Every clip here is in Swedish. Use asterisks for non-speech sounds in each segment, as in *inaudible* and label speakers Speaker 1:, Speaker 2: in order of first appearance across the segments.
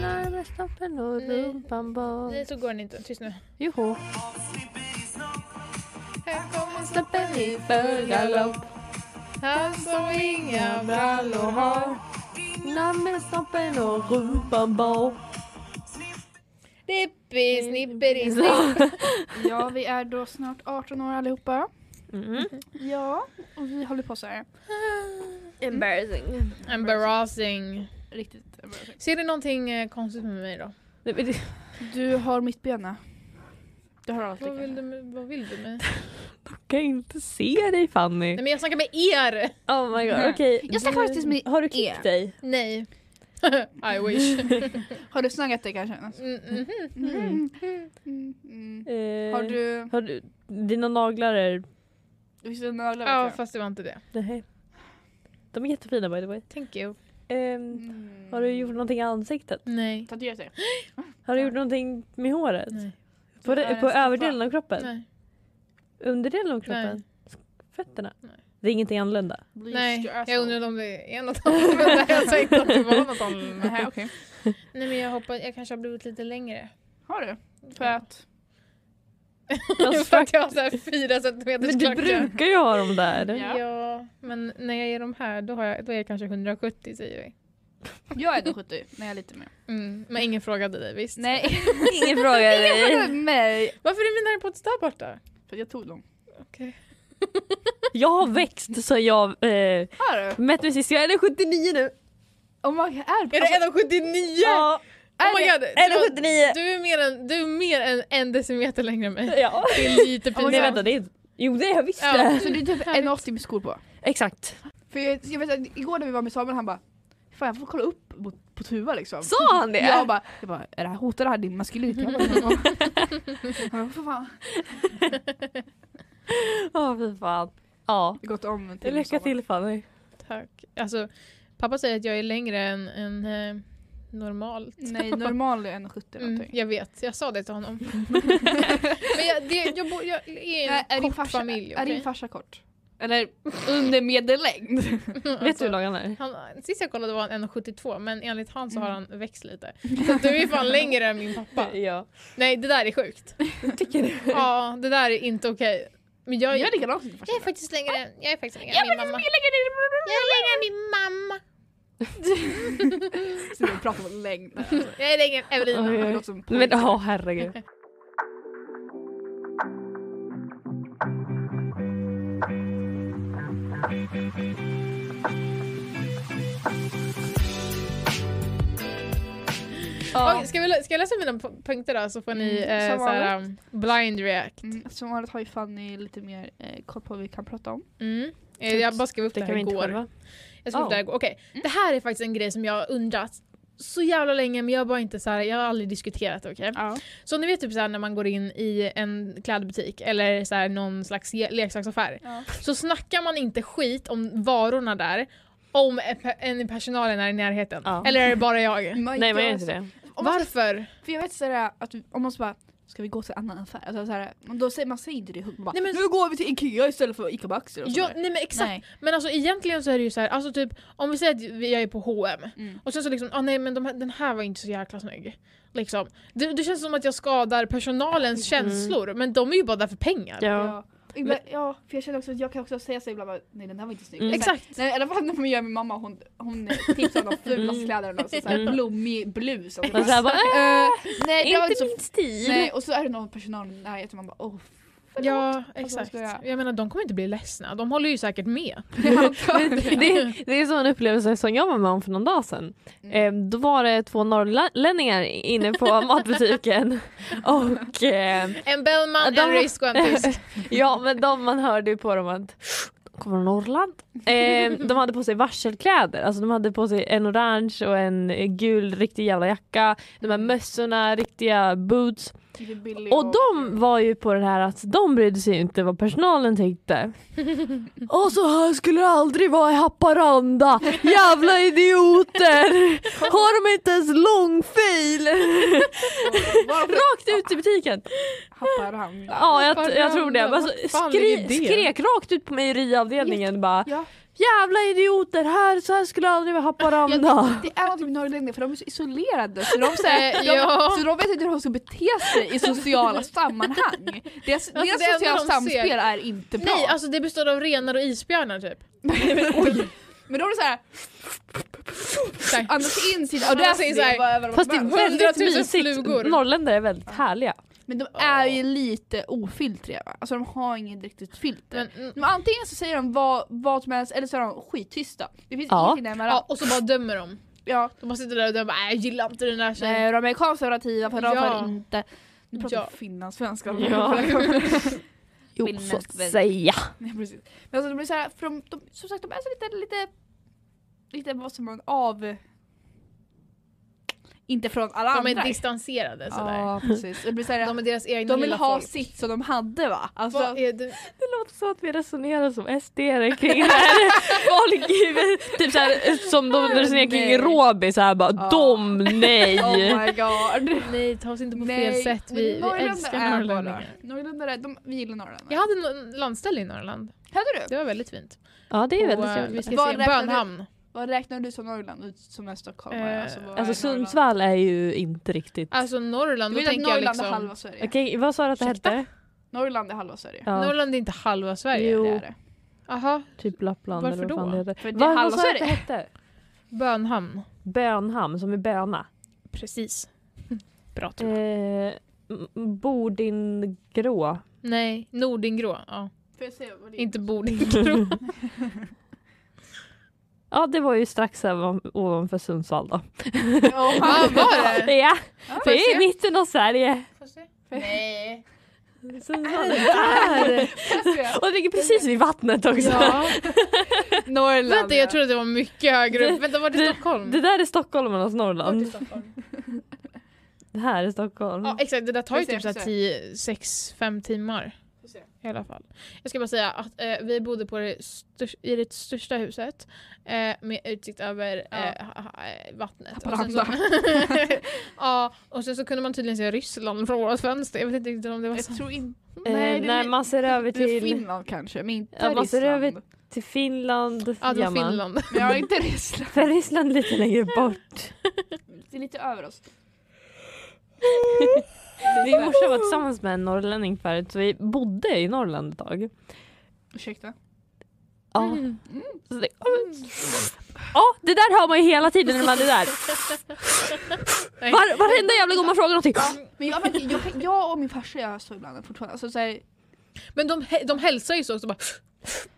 Speaker 1: Närmare snoppen och
Speaker 2: Nej.
Speaker 1: rumpan bak.
Speaker 2: Nej, så går den inte. Tyst nu.
Speaker 1: Joho.
Speaker 2: Här kommer
Speaker 1: Snoppen i full galopp.
Speaker 2: Han som inga brallor har.
Speaker 1: Närmare snoppen och rumpan bak.
Speaker 2: Dippi, snipperi, snipp.
Speaker 3: Ja, vi är då snart 18 år allihopa.
Speaker 1: Mm.
Speaker 3: Ja, och vi håller på så här.
Speaker 4: Embarrassing.
Speaker 2: Embarrassing.
Speaker 3: Riktigt embarrassing.
Speaker 2: Ser du någonting eh, konstigt med mig då?
Speaker 1: Nej, men det-
Speaker 3: Du har mitt bena. Du har allt
Speaker 2: Vad vill du
Speaker 3: lika.
Speaker 2: med, vad vill du med?
Speaker 1: Jag kan inte se dig Fanny.
Speaker 2: Nej men jag snackar med er!
Speaker 1: Oh my
Speaker 3: Nej.
Speaker 1: god, okej.
Speaker 3: Jag snackar
Speaker 1: Du-
Speaker 3: faktiskt med
Speaker 1: Har du klippt
Speaker 3: er.
Speaker 1: dig?
Speaker 2: Nej. *laughs* I wish.
Speaker 3: Har du snaggat dig kanske?
Speaker 2: Mm, mhm.
Speaker 3: Mm. Mm. Mm.
Speaker 1: Eh,
Speaker 3: Har du...
Speaker 1: Har du... Dina naglar är...
Speaker 3: Visst är det naglar?
Speaker 2: Ja
Speaker 3: vet jag.
Speaker 2: fast det var inte det.
Speaker 1: Nej. De är jättefina by the way.
Speaker 2: Thank you.
Speaker 1: Ehm,
Speaker 3: Mm.
Speaker 1: Har du gjort någonting i ansiktet?
Speaker 2: Nej.
Speaker 3: Tatuerat dig?
Speaker 1: Har du gjort någonting med håret?
Speaker 2: Nej.
Speaker 1: På, det,
Speaker 3: Nej,
Speaker 1: på
Speaker 3: jag ska
Speaker 1: överdelen av kroppen?
Speaker 2: Nej.
Speaker 1: Underdelen av kroppen?
Speaker 2: Nej.
Speaker 1: Fötterna?
Speaker 2: Nej.
Speaker 1: Det är ingenting annorlunda?
Speaker 3: Bleached
Speaker 2: Nej.
Speaker 3: your asshole.
Speaker 2: Jag
Speaker 3: *laughs*
Speaker 2: undrar om det är något annat. *laughs* Men jag sa inte att det var något annat.
Speaker 3: Nähä, okej.
Speaker 2: Nej men jag hoppas, jag kanske har blivit lite längre.
Speaker 3: Har du? För att...
Speaker 2: För att jag har såhär fyra centimeters
Speaker 1: Men du brukar ju ha dem där.
Speaker 3: Ja.
Speaker 2: Ja, men när jag är de här då, har jag, då är jag kanske 170 säger vi.
Speaker 3: Jag är då 70, när jag är lite mer.
Speaker 2: Mm, men ingen frågade dig visst?
Speaker 3: Nej,
Speaker 1: Ingen
Speaker 3: *laughs*
Speaker 1: fråga dig.
Speaker 3: för mig!
Speaker 2: *laughs* Varför är min Harry Potter där borta?
Speaker 3: *laughs* För jag tog dem.
Speaker 2: Okej.
Speaker 1: Jag har växt så jag eh,
Speaker 3: Har du?
Speaker 1: mätte mig sist. Jag är 79 nu.
Speaker 3: Om man är...
Speaker 2: Är
Speaker 3: alltså,
Speaker 2: det 1,79?
Speaker 1: Ja,
Speaker 2: oh my god!
Speaker 1: jag
Speaker 2: Du-
Speaker 1: är 79.
Speaker 2: Du är, mer än, du är mer än en decimeter längre än mig.
Speaker 1: Ja.
Speaker 2: Det är lite
Speaker 3: Oh
Speaker 1: Nej
Speaker 3: my God.
Speaker 2: pinsamt.
Speaker 1: vänta, det är... Jo det är jag visst
Speaker 2: Ja.
Speaker 1: det.
Speaker 3: Så det är typ 1,80 med skor på.
Speaker 1: Exakt.
Speaker 3: För jag, jag vet, att igår när vi var med Samuel han bara Fan jag får kolla upp mot, på Tuva liksom.
Speaker 1: Sa han det?
Speaker 3: Jag bara, jag bara är det här, hotar det här din maskulinitet? Han bara, för fan.
Speaker 1: Åh fy fan. Ja.
Speaker 3: Det har gått om till
Speaker 1: Lycka
Speaker 3: sommar.
Speaker 1: till Fanny.
Speaker 2: Tack. Alltså, pappa säger att jag är längre än, än eh, normalt.
Speaker 3: Nej normal Mm, är 1,70
Speaker 2: Mm,
Speaker 3: någonting.
Speaker 2: jag vet, jag sa det till
Speaker 3: *laughs*
Speaker 2: honom. men jag, det, jag, bor, jag är en
Speaker 3: Nej, är, din
Speaker 2: kort
Speaker 3: farsa,
Speaker 2: familj.
Speaker 3: är din
Speaker 2: okej?
Speaker 3: farsa kort? Eller under medellängd?
Speaker 2: Mm,
Speaker 1: Vet du
Speaker 2: alltså.
Speaker 1: hur lång han är?
Speaker 2: Han, sist jag kollade var han 1,72 men enligt han så har
Speaker 3: Mm.
Speaker 2: han växt lite. Så att du är
Speaker 3: *laughs*
Speaker 2: fan längre än min pappa.
Speaker 1: Ja.
Speaker 2: Nej det där är sjukt.
Speaker 1: Tycker du?
Speaker 2: Ja det där är inte okej. Men jag,
Speaker 3: *laughs* Jag är
Speaker 2: jag,
Speaker 3: likadant som din farsa.
Speaker 2: är faktiskt längre, jag är faktiskt längre än min mamma. Jag är längre än min mamma.
Speaker 3: Så vi pratar om längd.
Speaker 2: Jag är längre än
Speaker 1: Oj,
Speaker 2: Evelina.
Speaker 1: oj.
Speaker 3: Det låter som
Speaker 1: Men ja
Speaker 3: *laughs*
Speaker 1: herregud.
Speaker 2: Okej, ska, vi, lä- ska jag läsa mina po- punkter då så får ni
Speaker 3: Mm,
Speaker 2: eh,
Speaker 3: som
Speaker 2: såhär, um, blind react.
Speaker 3: Mm, som vanligt har ju Fanny lite mer eh, koll på vad vi kan prata om.
Speaker 2: Mm. Eh,
Speaker 3: Typ
Speaker 2: Jag bara skrev upp det,
Speaker 1: Det kan
Speaker 2: här
Speaker 1: vi inte
Speaker 2: igår.
Speaker 1: själva.
Speaker 2: Jag skrev upp det här igår. Okej,
Speaker 3: Mm.
Speaker 2: det här är faktiskt en grej som jag har undrat så jävla länge men jag har bara inte så här, jag har aldrig diskuterat det okej.
Speaker 3: Ja.
Speaker 2: Så ni vet typ såhär när man går in i en klädbutik eller såhär någon slags ge- leksaksaffär
Speaker 3: Ja.
Speaker 2: så snackar man inte skit om varorna där om en pe- en i personalen är i närheten.
Speaker 1: Ja.
Speaker 2: Eller är det bara jag?
Speaker 1: Nej men jag är inte det.
Speaker 3: *laughs* Om man
Speaker 2: Varför?
Speaker 3: För jag vet sådär att vi- om man så bara Ska vi gå till en annan affär? Alltså, såhär, men då säger man säger inte det högt. Man bara,
Speaker 2: Nej, men-
Speaker 3: Nu går vi till Ikea istället för Ica Baxter. och
Speaker 2: Ja,
Speaker 3: sådär.
Speaker 2: nej men exakt.
Speaker 3: Nej.
Speaker 2: Men alltså egentligen så är det ju så här, alltså typ om vi säger att vi- jag är på H&M
Speaker 3: Mm.
Speaker 2: och sen så liksom, ah, nej men de här, den här var inte så jäkla snygg. Liksom. Det, det känns som att jag skadar personalens känslor men de är ju bara där för pengar.
Speaker 1: Ja.
Speaker 3: Ja. Ibland, ja, för jag känner också att jag kan också säga så ibland bara, nej den här var inte snygg.
Speaker 1: Mm.
Speaker 3: Och sen-
Speaker 2: Exakt.
Speaker 3: Nej, I alla fall när man gör med mamma, hon, hon tipsar om de fulaste kläderna. Så såhär,
Speaker 1: Mm.
Speaker 3: blommig blus. Alltså,
Speaker 1: Och så här bara, äh,
Speaker 3: eh, nej, det var
Speaker 1: inte
Speaker 3: inte så,
Speaker 1: min stil.
Speaker 3: nej, och så är det någon personal i närheten man bara åh förlåt. *laughs*
Speaker 2: Ja,
Speaker 3: Alltså, vad
Speaker 2: exakt.
Speaker 3: ska jag göra?
Speaker 2: jag menar de kommer inte bli ledsna, de håller ju säkert med.
Speaker 1: *laughs*
Speaker 3: Mm.
Speaker 1: det, det är en sån upplevelse som jag var med om för någon dag sedan.
Speaker 3: Mm.
Speaker 1: Eh, då var det två norrlänningar inne
Speaker 3: *laughs*
Speaker 1: på matbutiken och eh,
Speaker 2: En Bellman,
Speaker 1: De-
Speaker 2: en rysk och en tysk.
Speaker 1: ja men de man hörde ju på dem att "De kommer från Norrland. Eh, de hade på sig varselkläder, alltså de hade på sig en orange och en gul riktig jävla jacka, de här mössorna, riktiga boots.
Speaker 3: Det är billigt
Speaker 1: Och
Speaker 3: *laughs*
Speaker 1: de var ju på det här att de brydde sig inte vad personalen *laughs* tänkte. Och så här skulle det aldrig vara i Haparanda, jävla *laughs* idioter! Har de inte ens långfil? Rakt ut i butiken!
Speaker 3: Haparanda.
Speaker 1: Ja jag, jag tror det. Bara så
Speaker 2: Vad fan
Speaker 1: skri,
Speaker 2: är det?
Speaker 1: skrek rakt ut på mejeriavdelningen bara
Speaker 3: Ja,
Speaker 1: jävla idioter, här, så här skulle det aldrig vara i Haparanda.
Speaker 3: det är någonting med norrlänningar för de är så isolerade så de, så här, de,
Speaker 2: Ja.
Speaker 3: så de vet inte hur de ska bete sig i sociala sammanhang. Deras,
Speaker 2: det
Speaker 3: deras
Speaker 2: enda
Speaker 3: sociala
Speaker 2: de
Speaker 3: samspel
Speaker 2: ser-
Speaker 3: är inte *laughs* bra.
Speaker 2: Nej, alltså det består av renar och isbjörnar typ.
Speaker 3: *laughs* Men då är det såhär,
Speaker 2: Så här,
Speaker 3: andas in sina... Och det är
Speaker 2: Andas in så här.
Speaker 3: såhär,
Speaker 1: Fast det är väldigt
Speaker 2: 100 000
Speaker 1: mysigt,
Speaker 2: flugor.
Speaker 1: norrländare är väldigt härliga.
Speaker 3: Men de är ju lite ofiltriga va? Alltså de har inget riktigt filter.
Speaker 2: men, mm,
Speaker 3: Men antingen så säger de vad, vad som helst eller så är de skittysta. Det finns
Speaker 1: Ja.
Speaker 3: ingenting däremellan.
Speaker 2: ja, och så bara dömer de.
Speaker 3: Ja.
Speaker 2: De bara sitter där och dömer. "Nej, jag gillar inte den där tjejen.
Speaker 3: Nej, de är konservativa för de
Speaker 2: Ja.
Speaker 3: får inte... Nu pratar
Speaker 2: Ja.
Speaker 3: vi finlandssvenska.
Speaker 1: Ja. Jo,
Speaker 3: Finländsk
Speaker 1: så att
Speaker 3: väl.
Speaker 1: säga.
Speaker 3: *laughs* Nej, precis. Men alltså de blir såhär, för de, de, som sagt de är så lite, lite, lite vad som man av... Inte från alla
Speaker 2: De
Speaker 3: andra.
Speaker 2: är distanserade sådär.
Speaker 3: Ja precis. Det blir
Speaker 2: *laughs*
Speaker 3: såhär,
Speaker 2: De är deras egna
Speaker 3: de vill
Speaker 2: lilla
Speaker 3: ha
Speaker 2: folk.
Speaker 3: sitt som de hade va? Alltså,
Speaker 2: Vad är det?
Speaker 1: Det låter som att vi resonerar som SD kring det
Speaker 2: *laughs*
Speaker 1: här. Folk, i- typ så här, som de resonerar kring
Speaker 3: Nej.
Speaker 1: Robi, så här bara
Speaker 3: Ja.
Speaker 1: de, nej.
Speaker 3: Oh my god.
Speaker 2: *laughs* Nej, ta oss inte på fel
Speaker 3: Nej,
Speaker 2: sätt.
Speaker 3: men
Speaker 2: Vi, vi
Speaker 3: norrländare
Speaker 2: älskar
Speaker 3: är
Speaker 2: norrlänningar.
Speaker 3: bara- Norrländare, de, vi gillar norrländare.
Speaker 2: Jag hade en landställe i Norrland.
Speaker 3: Hade du?
Speaker 2: Det var väldigt fint.
Speaker 1: Ja det är
Speaker 2: Och,
Speaker 1: väldigt
Speaker 2: eh, vi
Speaker 1: trevligt.
Speaker 2: ska
Speaker 3: Var
Speaker 2: se
Speaker 3: räknar du-
Speaker 2: Bönhamn.
Speaker 3: Vad räknar du som Norrland ut som är stockholmare?
Speaker 2: Eh,
Speaker 3: vad är
Speaker 1: Alltså
Speaker 3: Norrland?
Speaker 1: Sundsvall är ju inte riktigt...
Speaker 2: Alltså Norrland, då
Speaker 3: Du vet att
Speaker 2: tänker jag
Speaker 3: Norrland är
Speaker 2: liksom...
Speaker 3: halva Sverige?
Speaker 1: Okej vad sa du att det
Speaker 2: Ursäkta?
Speaker 1: hette?
Speaker 3: Norrland är halva Sverige.
Speaker 1: Ja,
Speaker 2: Norrland är inte halva Sverige.
Speaker 1: Jo.
Speaker 3: Det är det.
Speaker 2: Aha,
Speaker 1: typ Lappland
Speaker 2: Varför
Speaker 1: eller vad fan
Speaker 2: då?
Speaker 1: det heter.
Speaker 3: För det är
Speaker 1: Vad-
Speaker 3: halva
Speaker 1: Vad sa du att det
Speaker 3: Sverige.
Speaker 1: hette?
Speaker 2: Bönhamn.
Speaker 1: Bönhamn som är böna.
Speaker 2: Precis. Bra tror jag.
Speaker 1: Eh, m- Bordingrå.
Speaker 2: Nej, Nordingrå. Ja.
Speaker 3: Får jag se vad det är?
Speaker 2: Inte Bordingrå. *laughs*
Speaker 1: Ja det var ju strax ovan- ovanför Sundsvall då.
Speaker 3: *laughs* Ja,
Speaker 2: Ja, var det?
Speaker 1: *laughs* Ja,
Speaker 3: Ja,
Speaker 1: det
Speaker 3: får jag
Speaker 1: är i
Speaker 3: se?
Speaker 1: mitten av Sverige.
Speaker 2: Nej.
Speaker 1: Sundsvall är där.
Speaker 3: Får jag se?
Speaker 1: Och det ligger precis vid vattnet också.
Speaker 2: Ja.
Speaker 3: *laughs* Norrland.
Speaker 2: Vänta, jag trodde det var mycket högre
Speaker 1: Det-
Speaker 2: upp. Vänta, var det,
Speaker 1: det-
Speaker 2: Stockholm?
Speaker 1: Det där är stockholmarnas Norrland.
Speaker 2: Stockholm.
Speaker 1: Det här är Stockholm.
Speaker 2: Ja, exakt. Det där tar ju
Speaker 3: Får
Speaker 2: typ
Speaker 3: jag se, får jag
Speaker 2: 6-5 timmar.
Speaker 3: Får se.
Speaker 2: I alla fall. Jag ska bara säga att eh, vi bodde på det störs- i det största huset eh, med utsikt över
Speaker 3: Ja.
Speaker 2: eh, ha- ha- eh, vattnet. Och sen
Speaker 3: Haparanda.
Speaker 2: så- *laughs* Ja, och sen så kunde man tydligen se Ryssland från vårt fönster. Jag vet inte riktigt om det var
Speaker 3: Jag
Speaker 2: sant.
Speaker 3: tror inte...
Speaker 1: eh,
Speaker 3: Nej, det
Speaker 1: när
Speaker 3: är-
Speaker 1: man ser över
Speaker 3: det är
Speaker 1: till,
Speaker 3: Finland kanske, men inte
Speaker 1: Ja, man ser
Speaker 3: Ryssland.
Speaker 1: över- till Finland.
Speaker 2: Ja, det
Speaker 1: gör
Speaker 2: var
Speaker 1: man.
Speaker 2: Finland.
Speaker 3: Men jag är inte Ryssland.
Speaker 1: För Ryssland lite längre bort.
Speaker 3: Det är lite över oss.
Speaker 1: Min morsa var tillsammans med en norrlänning förut så vi bodde i Norrland ett tag.
Speaker 3: Ursäkta.
Speaker 1: Ja. Så det, ja, det där hör man ju hela tiden när man är där.
Speaker 2: Nej.
Speaker 1: Var, varenda jävla gång man frågar någonting.
Speaker 3: Men jag, vet inte, jag, jag och min farsa gör så ibland fortfarande. Alltså, så här,
Speaker 2: Men de, hä- de hälsar ju så också bara...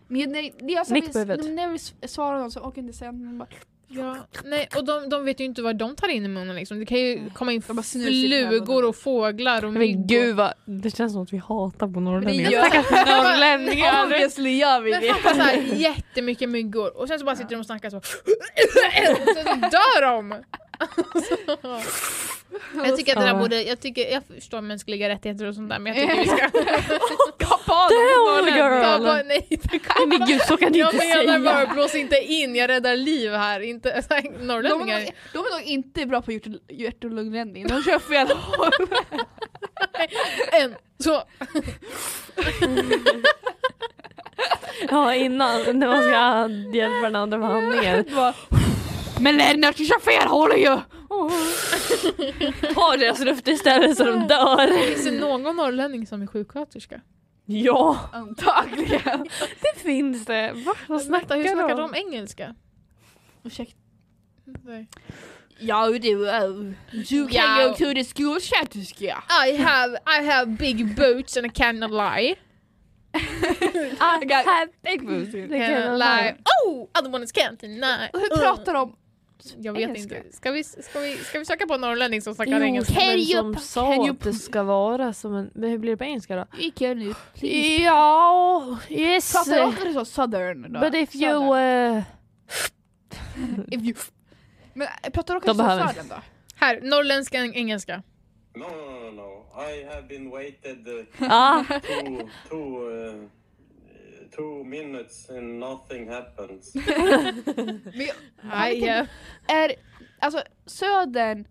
Speaker 3: Men jag- nej, det är så
Speaker 1: Nick på
Speaker 3: vi,
Speaker 1: huvudet.
Speaker 3: när- när vi s- svarar någon så orkar jag inte säga något. Bara,
Speaker 2: Ja, nej, och de, de vet ju inte vad de tar in i munnen liksom. Det kan ju komma in
Speaker 3: De bara snusar i sina
Speaker 2: flugor
Speaker 3: ögon.
Speaker 2: och fåglar och
Speaker 1: Men gud vad, det känns som att vi hatar på norrlänningar.
Speaker 3: gör-
Speaker 1: Stackars
Speaker 2: *laughs*
Speaker 1: norrlänningar.
Speaker 3: Obviously gör vi
Speaker 2: Men
Speaker 3: det.
Speaker 2: fan såhär jättemycket myggor och sen så bara sitter de och snackar så. och *laughs* sen dör de! Alltså, jag tycker att det där
Speaker 1: Ja.
Speaker 2: borde, jag, tycker, jag förstår mänskliga rättigheter och sånt där men jag tycker vi
Speaker 3: *laughs*
Speaker 2: ska
Speaker 1: Damn
Speaker 2: ta
Speaker 1: girl!
Speaker 2: på, nej tack.
Speaker 1: Nej men gud så kan du
Speaker 2: Jag
Speaker 1: inte
Speaker 2: menar
Speaker 1: säga.
Speaker 2: bara blås inte in, jag räddar liv här, inte *laughs* så här,
Speaker 3: De är,
Speaker 2: norrlänningar.
Speaker 3: nog, de är nog inte bra på hjärt- hjärt och lungräddning, de kör *laughs* fel håll.
Speaker 2: *laughs* En, så,
Speaker 1: Ja innan när man ska hjälpa den andra med handlingen.
Speaker 3: Bara, Men Lennart du kör fel håll ju!
Speaker 1: Ta deras luft istället så de dör.
Speaker 2: finns det någon norrlänning som är sjuksköterska?
Speaker 1: Ja
Speaker 3: Antagligen.
Speaker 1: det finns det. Va? Vad
Speaker 2: Vänta,
Speaker 1: snackar,
Speaker 2: hur snackar de engelska?
Speaker 3: Ursäkta.
Speaker 2: Nej.
Speaker 3: Ja du, eh, du kan
Speaker 2: Ja.
Speaker 3: gå till the skolsköterska.
Speaker 2: I have, I have big boots and I cannot lie. Ah,
Speaker 1: I have big boobs. Det kan jag
Speaker 2: Cannot
Speaker 1: lie.
Speaker 2: lie. Oh, other one is can't Mm. deny.
Speaker 3: Hur
Speaker 1: Uh.
Speaker 3: pratar de?
Speaker 2: Jag vet
Speaker 3: Engelska.
Speaker 2: inte. Ska vi, ska, vi, ska vi söka på en norrlänning som snackar
Speaker 1: Jo,
Speaker 2: engelska?
Speaker 3: Can
Speaker 1: vem
Speaker 3: you
Speaker 1: som
Speaker 3: pa-
Speaker 1: sa
Speaker 3: can you
Speaker 1: att det
Speaker 3: pa-
Speaker 1: ska vara som en... Men hur blir det på engelska då?
Speaker 3: Vi kan nu.
Speaker 1: Ja, yes.
Speaker 3: Pratar de inte så southern då?
Speaker 1: But if
Speaker 3: Southern.
Speaker 1: you... eh,
Speaker 3: If you... Men eh, pratar de
Speaker 1: De
Speaker 3: kanske
Speaker 1: behöver-
Speaker 3: så southern då?
Speaker 2: Här, norrländska en- engelska.
Speaker 4: No, no, no, no. I have been waited uh,
Speaker 1: *laughs* Ah,
Speaker 4: two, two, uh, two minutes and nothing happens.
Speaker 2: I, eh,
Speaker 3: Är, alltså södern,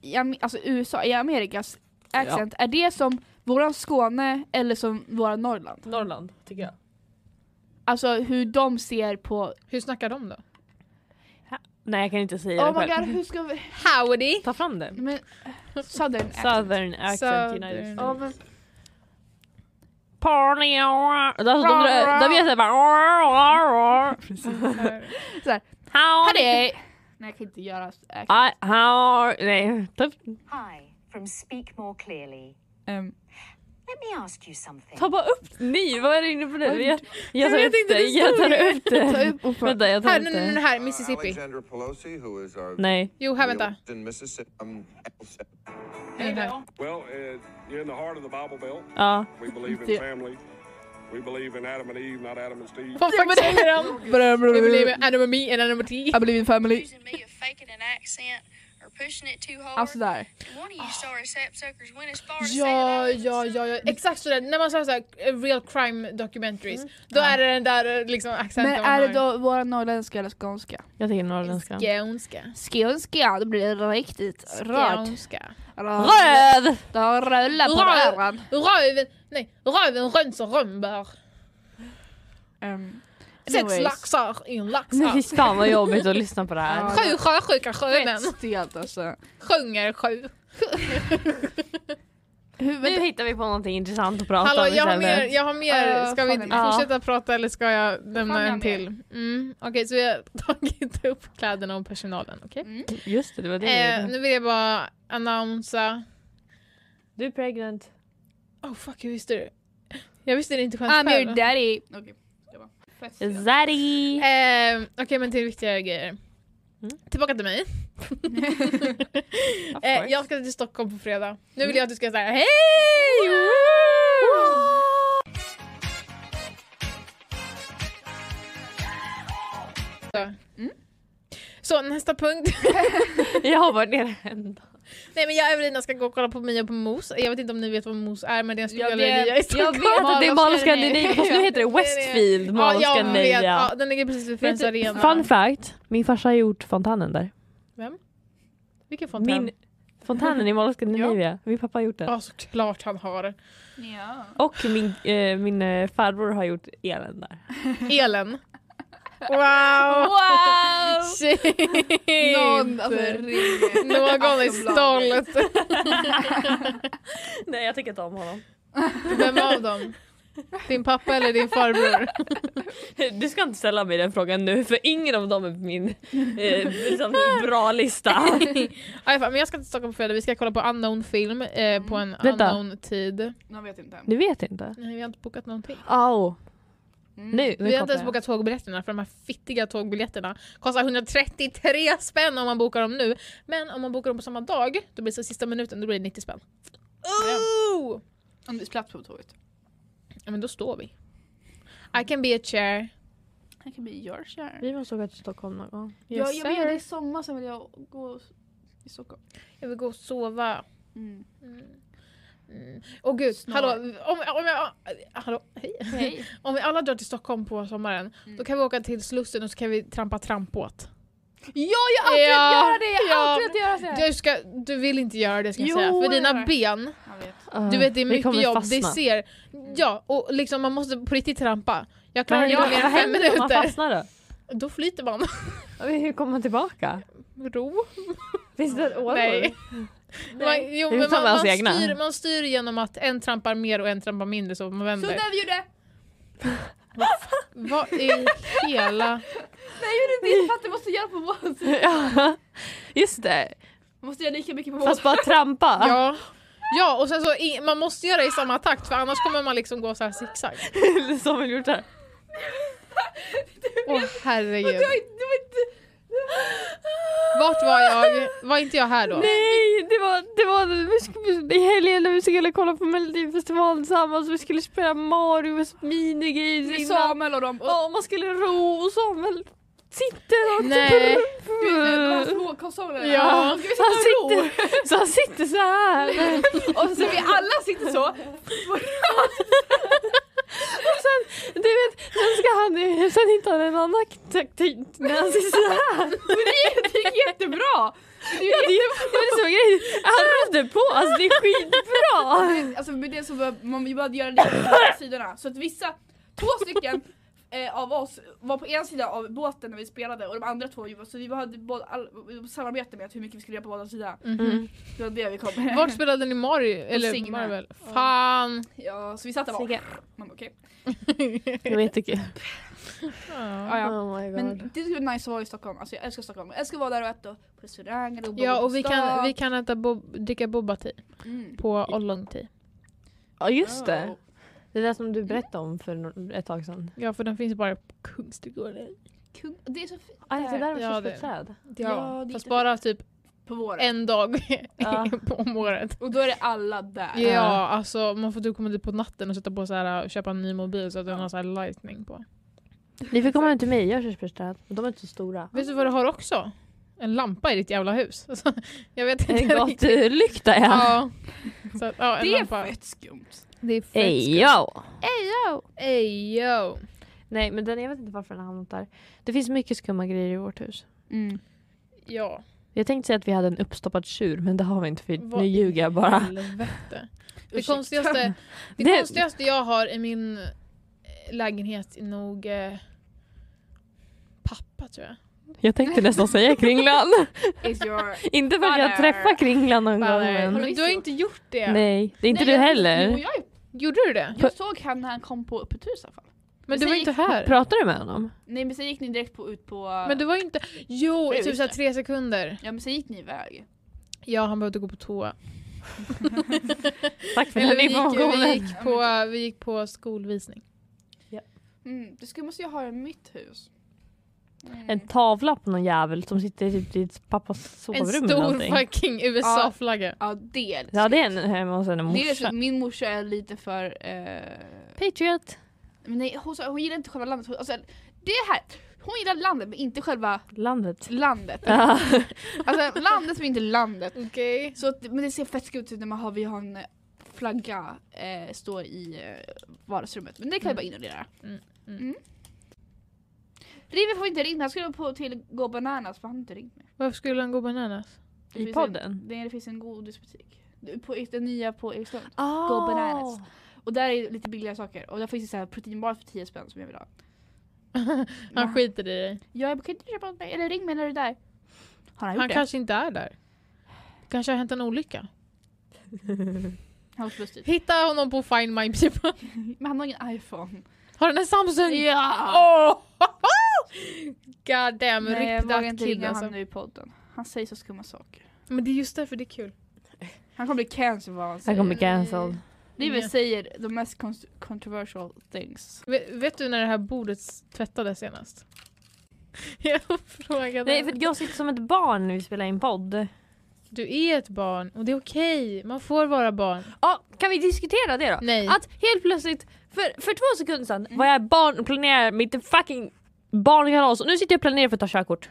Speaker 3: i Am- alltså USA, i Amerikas accent, är det som våran Skåne eller som våran Norrland?
Speaker 1: Norrland tycker jag.
Speaker 3: Alltså hur de ser på,
Speaker 2: hur snackar de då?
Speaker 1: Nej jag kan inte säga det
Speaker 3: oh my
Speaker 1: själv.
Speaker 3: god Mm. hur ska vi,
Speaker 2: Howdy!
Speaker 1: Ta fram det.
Speaker 3: men southern accent.
Speaker 1: Southern accent united.
Speaker 2: Southern.
Speaker 3: Ja, men,
Speaker 1: Party, alltså, de, drar- de gör såhär *laughs* bara... How
Speaker 3: hörde, nej jag kan inte göra accent.
Speaker 1: I, how... Nej, ta,
Speaker 5: Hi, from Speak More Clearly.
Speaker 3: Ehm,
Speaker 5: Let me ask you something.
Speaker 1: ta bara upp Ni, vad är du inne på nu? Jag, jag tar
Speaker 2: Jag
Speaker 1: upp
Speaker 2: tänkte
Speaker 1: det.
Speaker 2: det
Speaker 1: Jag
Speaker 2: stod
Speaker 1: tar
Speaker 2: ju.
Speaker 1: upp det.
Speaker 3: ta upp och för,
Speaker 1: Vänta, jag tar
Speaker 2: Här,
Speaker 1: upp
Speaker 2: nu, nu,
Speaker 1: det.
Speaker 2: nu, här,
Speaker 6: Uh,
Speaker 2: Mississippi.
Speaker 6: Alexandra Pelosi, who is our
Speaker 1: Nej.
Speaker 2: Jo, här, vänta.
Speaker 6: in Mississippi. Um,
Speaker 2: Den här.
Speaker 7: Well, uh, you're in the heart of the Bible Belt.
Speaker 1: Ja.
Speaker 7: We believe in family. We believe in Adam and Eve, not Adam and Steve.
Speaker 2: Vad fan säger *laughs* de? Vi blir med Animal Me and Animal T.
Speaker 3: I believe in family.
Speaker 8: accusing me of faking an accent or pushing it too hard.
Speaker 3: Alltså där.
Speaker 8: One of you sorry sap suckers went as far as saying that I
Speaker 2: Ja,
Speaker 8: was a
Speaker 2: ja, ja, ja, exakt sådär. När man säger såhär eh, real crime documentaries, då är det den där eh, liksom accenten
Speaker 3: Men
Speaker 2: man
Speaker 3: är det
Speaker 2: har.
Speaker 3: då våra norrländska eller skånska?
Speaker 1: Jag tänker norrländska.
Speaker 2: Skånska.
Speaker 3: Skånska, då blir det riktigt rört.
Speaker 2: Skånska.
Speaker 3: Röd!
Speaker 1: Röd!
Speaker 3: Då rullar på
Speaker 2: Röd.
Speaker 3: röran.
Speaker 2: Röven, nej, röven rönser rönnbär.
Speaker 3: Um,
Speaker 2: Sex laxar i en
Speaker 1: Fy
Speaker 2: laxar.
Speaker 1: fan vad jobbigt att lyssna på det
Speaker 2: *laughs*
Speaker 1: här.
Speaker 3: Ja.
Speaker 2: Sju sjösjuka sjömän.
Speaker 3: Stelt alltså.
Speaker 2: Sjunger sju.
Speaker 3: Hur,
Speaker 1: Nu
Speaker 3: vänta,
Speaker 1: hittar vi på någonting intressant att prata
Speaker 2: Hallå,
Speaker 1: om
Speaker 2: jag har
Speaker 1: istället.
Speaker 2: mer. Jag har mer.
Speaker 3: Eh,
Speaker 2: Ska vi
Speaker 3: fan, jag
Speaker 1: har mer.
Speaker 2: fortsätta prata eller ska jag nämna
Speaker 3: jag har
Speaker 2: en till? Mm. Okej, så vi har *laughs* tagit upp kläderna och personalen. Okej?
Speaker 1: Just det, det var det vi
Speaker 2: Eh,
Speaker 1: gjorde.
Speaker 2: nu vill jag bara annonsa.
Speaker 1: Du är pregnant.
Speaker 2: Oh fuck, jag visste det. Jag visste
Speaker 1: Ah,
Speaker 2: det inte själv.
Speaker 3: I'm your daddy. Okej.
Speaker 1: Zaddy!
Speaker 2: Eh, Okej, men till viktigare grejer.
Speaker 1: Mm.
Speaker 2: Tillbaka
Speaker 1: *laughs*
Speaker 2: till mig.
Speaker 1: Of
Speaker 2: eh,
Speaker 1: course. Mm.
Speaker 2: jag ska till Stockholm på fredag. Nu vill jag att du ska säga hej! Så.
Speaker 3: Mm.
Speaker 2: Så nästa punkt.
Speaker 1: *laughs*
Speaker 2: *laughs*
Speaker 1: Jag har varit nere en dag.
Speaker 2: Nej men jag och Evelina ska gå och kolla på Mia på Mos. Jag vet inte om ni vet vad Mos är men det är en stor
Speaker 3: Jag
Speaker 2: galleria i
Speaker 3: vet-
Speaker 1: Jag
Speaker 2: Stockholm.
Speaker 1: vet att det är Mall of Scandinavia, fast
Speaker 2: *laughs*
Speaker 1: nu heter det
Speaker 2: Det är det.
Speaker 1: Westfield Mall of
Speaker 2: ja, jag vet.
Speaker 1: Scandinavia.
Speaker 2: Ja, den ligger precis vid
Speaker 1: Vet
Speaker 2: Friends
Speaker 1: du,
Speaker 2: Arena.
Speaker 1: fun fact, min farsa har gjort fontänen där.
Speaker 2: Vilken fontän?
Speaker 1: Min, fontänen i Mall
Speaker 2: *laughs*
Speaker 1: of Scandinavia, min pappa har gjort den.
Speaker 2: Ja såklart han har.
Speaker 3: Ja.
Speaker 1: Och min, eh, min eh, farbror har gjort elen där.
Speaker 2: Elen. Wow!
Speaker 3: Wow!
Speaker 2: Shit.
Speaker 3: Någon alltså, ringer. Alltså,
Speaker 2: Någon är
Speaker 3: *laughs* Aftonbladet.
Speaker 2: stolt.
Speaker 1: *laughs* Nej jag tycker inte om honom.
Speaker 2: Vem av dem? Din pappa eller din farbror?
Speaker 1: *laughs* Du ska inte ställa mig den frågan nu för ingen av dem är på min eh, liksom, bra lista.
Speaker 2: Aj, fan, men jag ska till Stockholm på fredag, vi ska kolla på unknown film eh, på en
Speaker 1: Vänta.
Speaker 2: unknown tid.
Speaker 3: De vet inte.
Speaker 1: *laughs* Du vet inte?
Speaker 2: Nej, vi har inte bokat någonting.
Speaker 1: Au.
Speaker 3: Mm.
Speaker 1: Nu, nu
Speaker 2: Vi har inte ens
Speaker 1: jag.
Speaker 2: bokat tågbiljetterna för de här fittiga tågbiljetterna kostar 133 spänn om man bokar dem nu. Men om man bokar dem på samma dag, då blir det så sista minuten, då blir det 90 spänn. Ooh!
Speaker 3: Om du slapp på tåget.
Speaker 2: Ja men då står vi. I can be a chair.
Speaker 3: Han kan bli your share.
Speaker 1: Vi måste åka till Stockholm någon gång.
Speaker 3: Ja, jag vill
Speaker 1: sir.
Speaker 3: göra det i sommar sen vill jag gå i Stockholm.
Speaker 2: Jag vill gå och sova.
Speaker 3: Mm.
Speaker 2: Mm. Åh gud,
Speaker 3: Snor.
Speaker 2: hallå, om, om jag, hallå, hej.
Speaker 3: Hej.
Speaker 2: *laughs* Om vi alla drar till Stockholm på sommaren,
Speaker 3: Mm.
Speaker 2: då kan vi åka till Slussen och så kan vi trampa trampbåt.
Speaker 3: Ja, jag har alltid
Speaker 2: Ja,
Speaker 3: velat göra det! Jag har
Speaker 2: ja.
Speaker 3: alltid velat göra det!
Speaker 2: Du, ska, du vill inte göra det ska jag
Speaker 3: Jo,
Speaker 2: säga, för
Speaker 3: jag
Speaker 2: dina
Speaker 3: gör.
Speaker 2: ben,
Speaker 3: Jag vet.
Speaker 1: Ah,
Speaker 2: du vet det är
Speaker 1: vi
Speaker 2: mycket
Speaker 1: kommer
Speaker 2: jobb, det
Speaker 1: fastna.
Speaker 2: ser... Ja, och liksom man måste på riktigt trampa. Jag
Speaker 1: Vad
Speaker 2: klarar
Speaker 1: händer,
Speaker 2: inte mer
Speaker 1: vad
Speaker 2: än fem
Speaker 1: händer om man
Speaker 2: minuter.
Speaker 1: fastnar då?
Speaker 2: Då flyter man.
Speaker 1: Hur kommer man tillbaka?
Speaker 2: Ro.
Speaker 1: Finns det ett åror?
Speaker 2: Nej. Man, jo,
Speaker 1: Vi
Speaker 2: men
Speaker 1: tar
Speaker 2: man,
Speaker 1: med
Speaker 2: man,
Speaker 1: oss egna.
Speaker 2: styr, man styr genom att en trampar mer och en trampar mindre så man
Speaker 3: Så
Speaker 2: vänder.
Speaker 3: där vi gjorde!
Speaker 2: Vad i hela...
Speaker 3: Nej, jag gjorde inte det! Fattar, jag måste göra på vår sida.
Speaker 1: *laughs* Ja, Just det,
Speaker 3: Man måste göra lika mycket på vår
Speaker 1: fast bara trampa.
Speaker 2: Ja. Ja, och sen så i, man måste göra i samma takt för annars kommer man liksom gå så här zigzag.
Speaker 1: *laughs* Som vi gjort här.
Speaker 2: Åh herregud.
Speaker 3: *laughs* Det var inte...
Speaker 2: Vart var jag? Var inte jag här då?
Speaker 1: Nej, det var, det var vi skulle, i helgen när vi skulle kolla på Melodifestivalen tillsammans. Vi skulle spela Marios minigames
Speaker 3: Det är
Speaker 1: innan.
Speaker 3: Samuel och dem. Och
Speaker 1: Ja, man skulle ro och Samuel sitter och
Speaker 2: Nej.
Speaker 3: Du, du, de här små på konsolerna.
Speaker 2: Ja.
Speaker 3: *laughs* Ska vi
Speaker 1: Så han
Speaker 3: sitta och ro?
Speaker 1: sitter, så han sitter så här.
Speaker 3: Och så vi alla sitter så.
Speaker 1: Och sen, du vet, sen ska han, sen hittar han en annan taktik när han sitter så *laughs* här.
Speaker 3: Det gick jättebra!
Speaker 1: Ja, det, det är så grej. Han rödde på, alltså det är *laughs* skitbra.
Speaker 3: Alltså med det så var, man vi behövde göra det på båda sidorna. Så att vissa, två stycken eh, av oss var på en sida av båten när vi spelade och de andra två var- så vi hade både, all, samarbete med att hur mycket vi skulle göra på båda sidorna.
Speaker 1: Mhm.
Speaker 3: Det var det vi kom med.
Speaker 2: Vart spelade ni Mario? Eller
Speaker 3: Signa.
Speaker 2: Marvel? Fan!
Speaker 3: *laughs* Ja, så vi satt där bara. Man bara, okej.
Speaker 1: Det var jättekul.
Speaker 2: Ja.
Speaker 3: Ja, ja.
Speaker 1: Oh my god.
Speaker 3: Men det skulle vara nice att vara i Stockholm, alltså jag älskar Stockholm. Jag älskar att vara där och äta på restauranger och bo
Speaker 2: Ja
Speaker 3: på
Speaker 2: och vi
Speaker 3: stan.
Speaker 2: kan, vi kan äta bob, dricka boba te
Speaker 3: Mm.
Speaker 2: på ollong te.
Speaker 1: Ja just det. Det där som du berättade om för no- ett tag sedan.
Speaker 2: Ja för den finns bara på Kungsträdgården.
Speaker 3: Kung, det är så fint
Speaker 1: Ah, det där var
Speaker 2: Ja,
Speaker 1: ja,
Speaker 2: det-
Speaker 1: träd.
Speaker 3: Ja, det är
Speaker 2: Fast
Speaker 3: jättefint.
Speaker 2: bara typ
Speaker 3: på våren.
Speaker 2: en dag
Speaker 1: Ja.
Speaker 2: *laughs* på om året.
Speaker 3: Och då är det alla där.
Speaker 2: Ja, alltså man får typ komma dit på natten och sätta på så här, och köpa en ny mobil så att den har så här lightning på.
Speaker 1: Ni får komma hem till mig, jag har körsbärsträd. Men de är inte så *laughs* stora.
Speaker 2: Vet du vad du har också? En lampa i ditt jävla hus. *laughs* Alltså, jag vet inte.
Speaker 1: En gatlykta ja.
Speaker 2: Ja. Så att, ja, en
Speaker 3: Det är
Speaker 2: lampa.
Speaker 3: fett skumt.
Speaker 2: Det är fett.
Speaker 1: Ey yo.
Speaker 2: Ejo! Ejo!
Speaker 1: Nej men den, jag vet inte varför den har hamnat där. Det finns mycket skumma grejer i vårt hus.
Speaker 2: Mm.
Speaker 3: Mm.
Speaker 2: Ja.
Speaker 1: Jag tänkte säga att vi hade en uppstoppad tjur men det har vi inte för
Speaker 2: Vad
Speaker 1: nu ljuger jag bara.
Speaker 2: Helvete. Det
Speaker 3: Ursäkta. *laughs*
Speaker 2: konstigaste, det
Speaker 1: Det-
Speaker 2: konstigaste jag har i min eh, lägenhet är nog eh, pappa tror jag.
Speaker 1: Jag tänkte nästan säga Kringlan.
Speaker 3: Is your...
Speaker 1: inte för att jag
Speaker 3: Father.
Speaker 1: träffar Kringlan någon gång
Speaker 2: Men,
Speaker 1: men.
Speaker 3: Har du
Speaker 2: du har inte gjort det.
Speaker 1: Nej, det är inte
Speaker 3: Nej,
Speaker 1: du
Speaker 3: jag-
Speaker 1: heller.
Speaker 3: Jo, jag,
Speaker 2: Gjorde du det?
Speaker 3: jag såg han när han kom på öppet hus i alla fall.
Speaker 2: Men du
Speaker 3: Sen
Speaker 2: var inte här.
Speaker 1: Pratar du med honom?
Speaker 3: Nej men sen gick ni direkt på, ut på...
Speaker 2: Men du var inte... Jo,
Speaker 3: Jo,
Speaker 2: i typ
Speaker 3: just
Speaker 2: såhär
Speaker 3: det.
Speaker 2: tre sekunder.
Speaker 3: Ja men sen gick ni iväg.
Speaker 2: Ja, han behövde gå på toa.
Speaker 1: Tack för
Speaker 2: Eller
Speaker 1: den
Speaker 2: vi, gick, vi,
Speaker 1: informationen.
Speaker 2: gick på, vi gick på skolvisning.
Speaker 3: Mm, det skulle måste jag ha i mitt hus. Mm.
Speaker 1: En tavla på någon jävel som sitter i typ ditt pappas sovrum
Speaker 2: En
Speaker 1: eller
Speaker 2: stor
Speaker 1: någonting.
Speaker 2: fucking USA-flagga.
Speaker 3: Ja det är
Speaker 1: Ja det är en hemma hos en
Speaker 3: det är så,
Speaker 1: morsa.
Speaker 3: min morsa är lite för... Eh,
Speaker 1: Patriot.
Speaker 3: men nej, hon, sa- hon gillar inte själva landet. Hon, alltså, det här, hon gillar landet men inte själva
Speaker 1: Landet.
Speaker 3: landet.
Speaker 1: *laughs* Ja.
Speaker 3: Alltså landet men inte landet.
Speaker 2: Okej.
Speaker 3: Så att, men det ser fett skumt ut när man har, vi har en eh, flagga eh, stå i eh, vardagsrummet. Men det kan jag bara ignorera.
Speaker 2: Mm, mm.
Speaker 3: River får inte ringa, han skulle på till Gå Bananas för han har inte ringt mig.
Speaker 2: Varför skulle han gå bananas? *laughs*
Speaker 3: Det
Speaker 1: I
Speaker 3: finns
Speaker 1: podden?
Speaker 3: En, det, det finns en godisbutik. Det- På, den nya på Erikslund.
Speaker 2: Ah.
Speaker 1: Oh.
Speaker 3: Go bananas. Och där är det lite billigare saker. Och där finns det så här proteinbar för 10 spänn som jag vill ha.
Speaker 2: Han
Speaker 3: Va?
Speaker 2: skiter i dig.
Speaker 3: Ja, jag bara, kan inte du köpa åt mig? Eller ring mig när du är där. Har han gjort
Speaker 2: Han
Speaker 3: det?
Speaker 2: kanske inte är där. Kanske har hänt en olycka.
Speaker 3: Han var så lustig.
Speaker 2: Hitta honom på Find My People. *laughs*
Speaker 3: Men han har ingen iPhone.
Speaker 2: Har den en Samsung?
Speaker 3: Ja!
Speaker 2: Åh! *laughs* God damn,
Speaker 3: Nej, jag
Speaker 2: rip
Speaker 3: vågar
Speaker 2: that
Speaker 3: inte
Speaker 2: kid
Speaker 3: ringa
Speaker 2: alltså.
Speaker 3: honom nu i podden. Han säger så skumma saker.
Speaker 2: Men det är just därför det är kul.
Speaker 3: Han kommer bli cancer vad han
Speaker 1: Han
Speaker 3: säger.
Speaker 1: kommer bli cancelled.
Speaker 3: River
Speaker 2: Ja.
Speaker 3: säger the mest cons- controversial things.
Speaker 2: Ve- vet du när det här bordet s- tvättades senast? *laughs* Jag frågade.
Speaker 1: Nej för jag sitter som ett barn när vi spelar in podd.
Speaker 2: Du är ett barn och det är okej. Man får vara barn.
Speaker 1: Ja, kan vi diskutera det då?
Speaker 2: Nej.
Speaker 3: Ah,
Speaker 1: Att helt plötsligt, för, för två sekunder sedan var jag barn och planerade mitt fucking barnkalas och nu sitter jag och planerar för att ta körkort.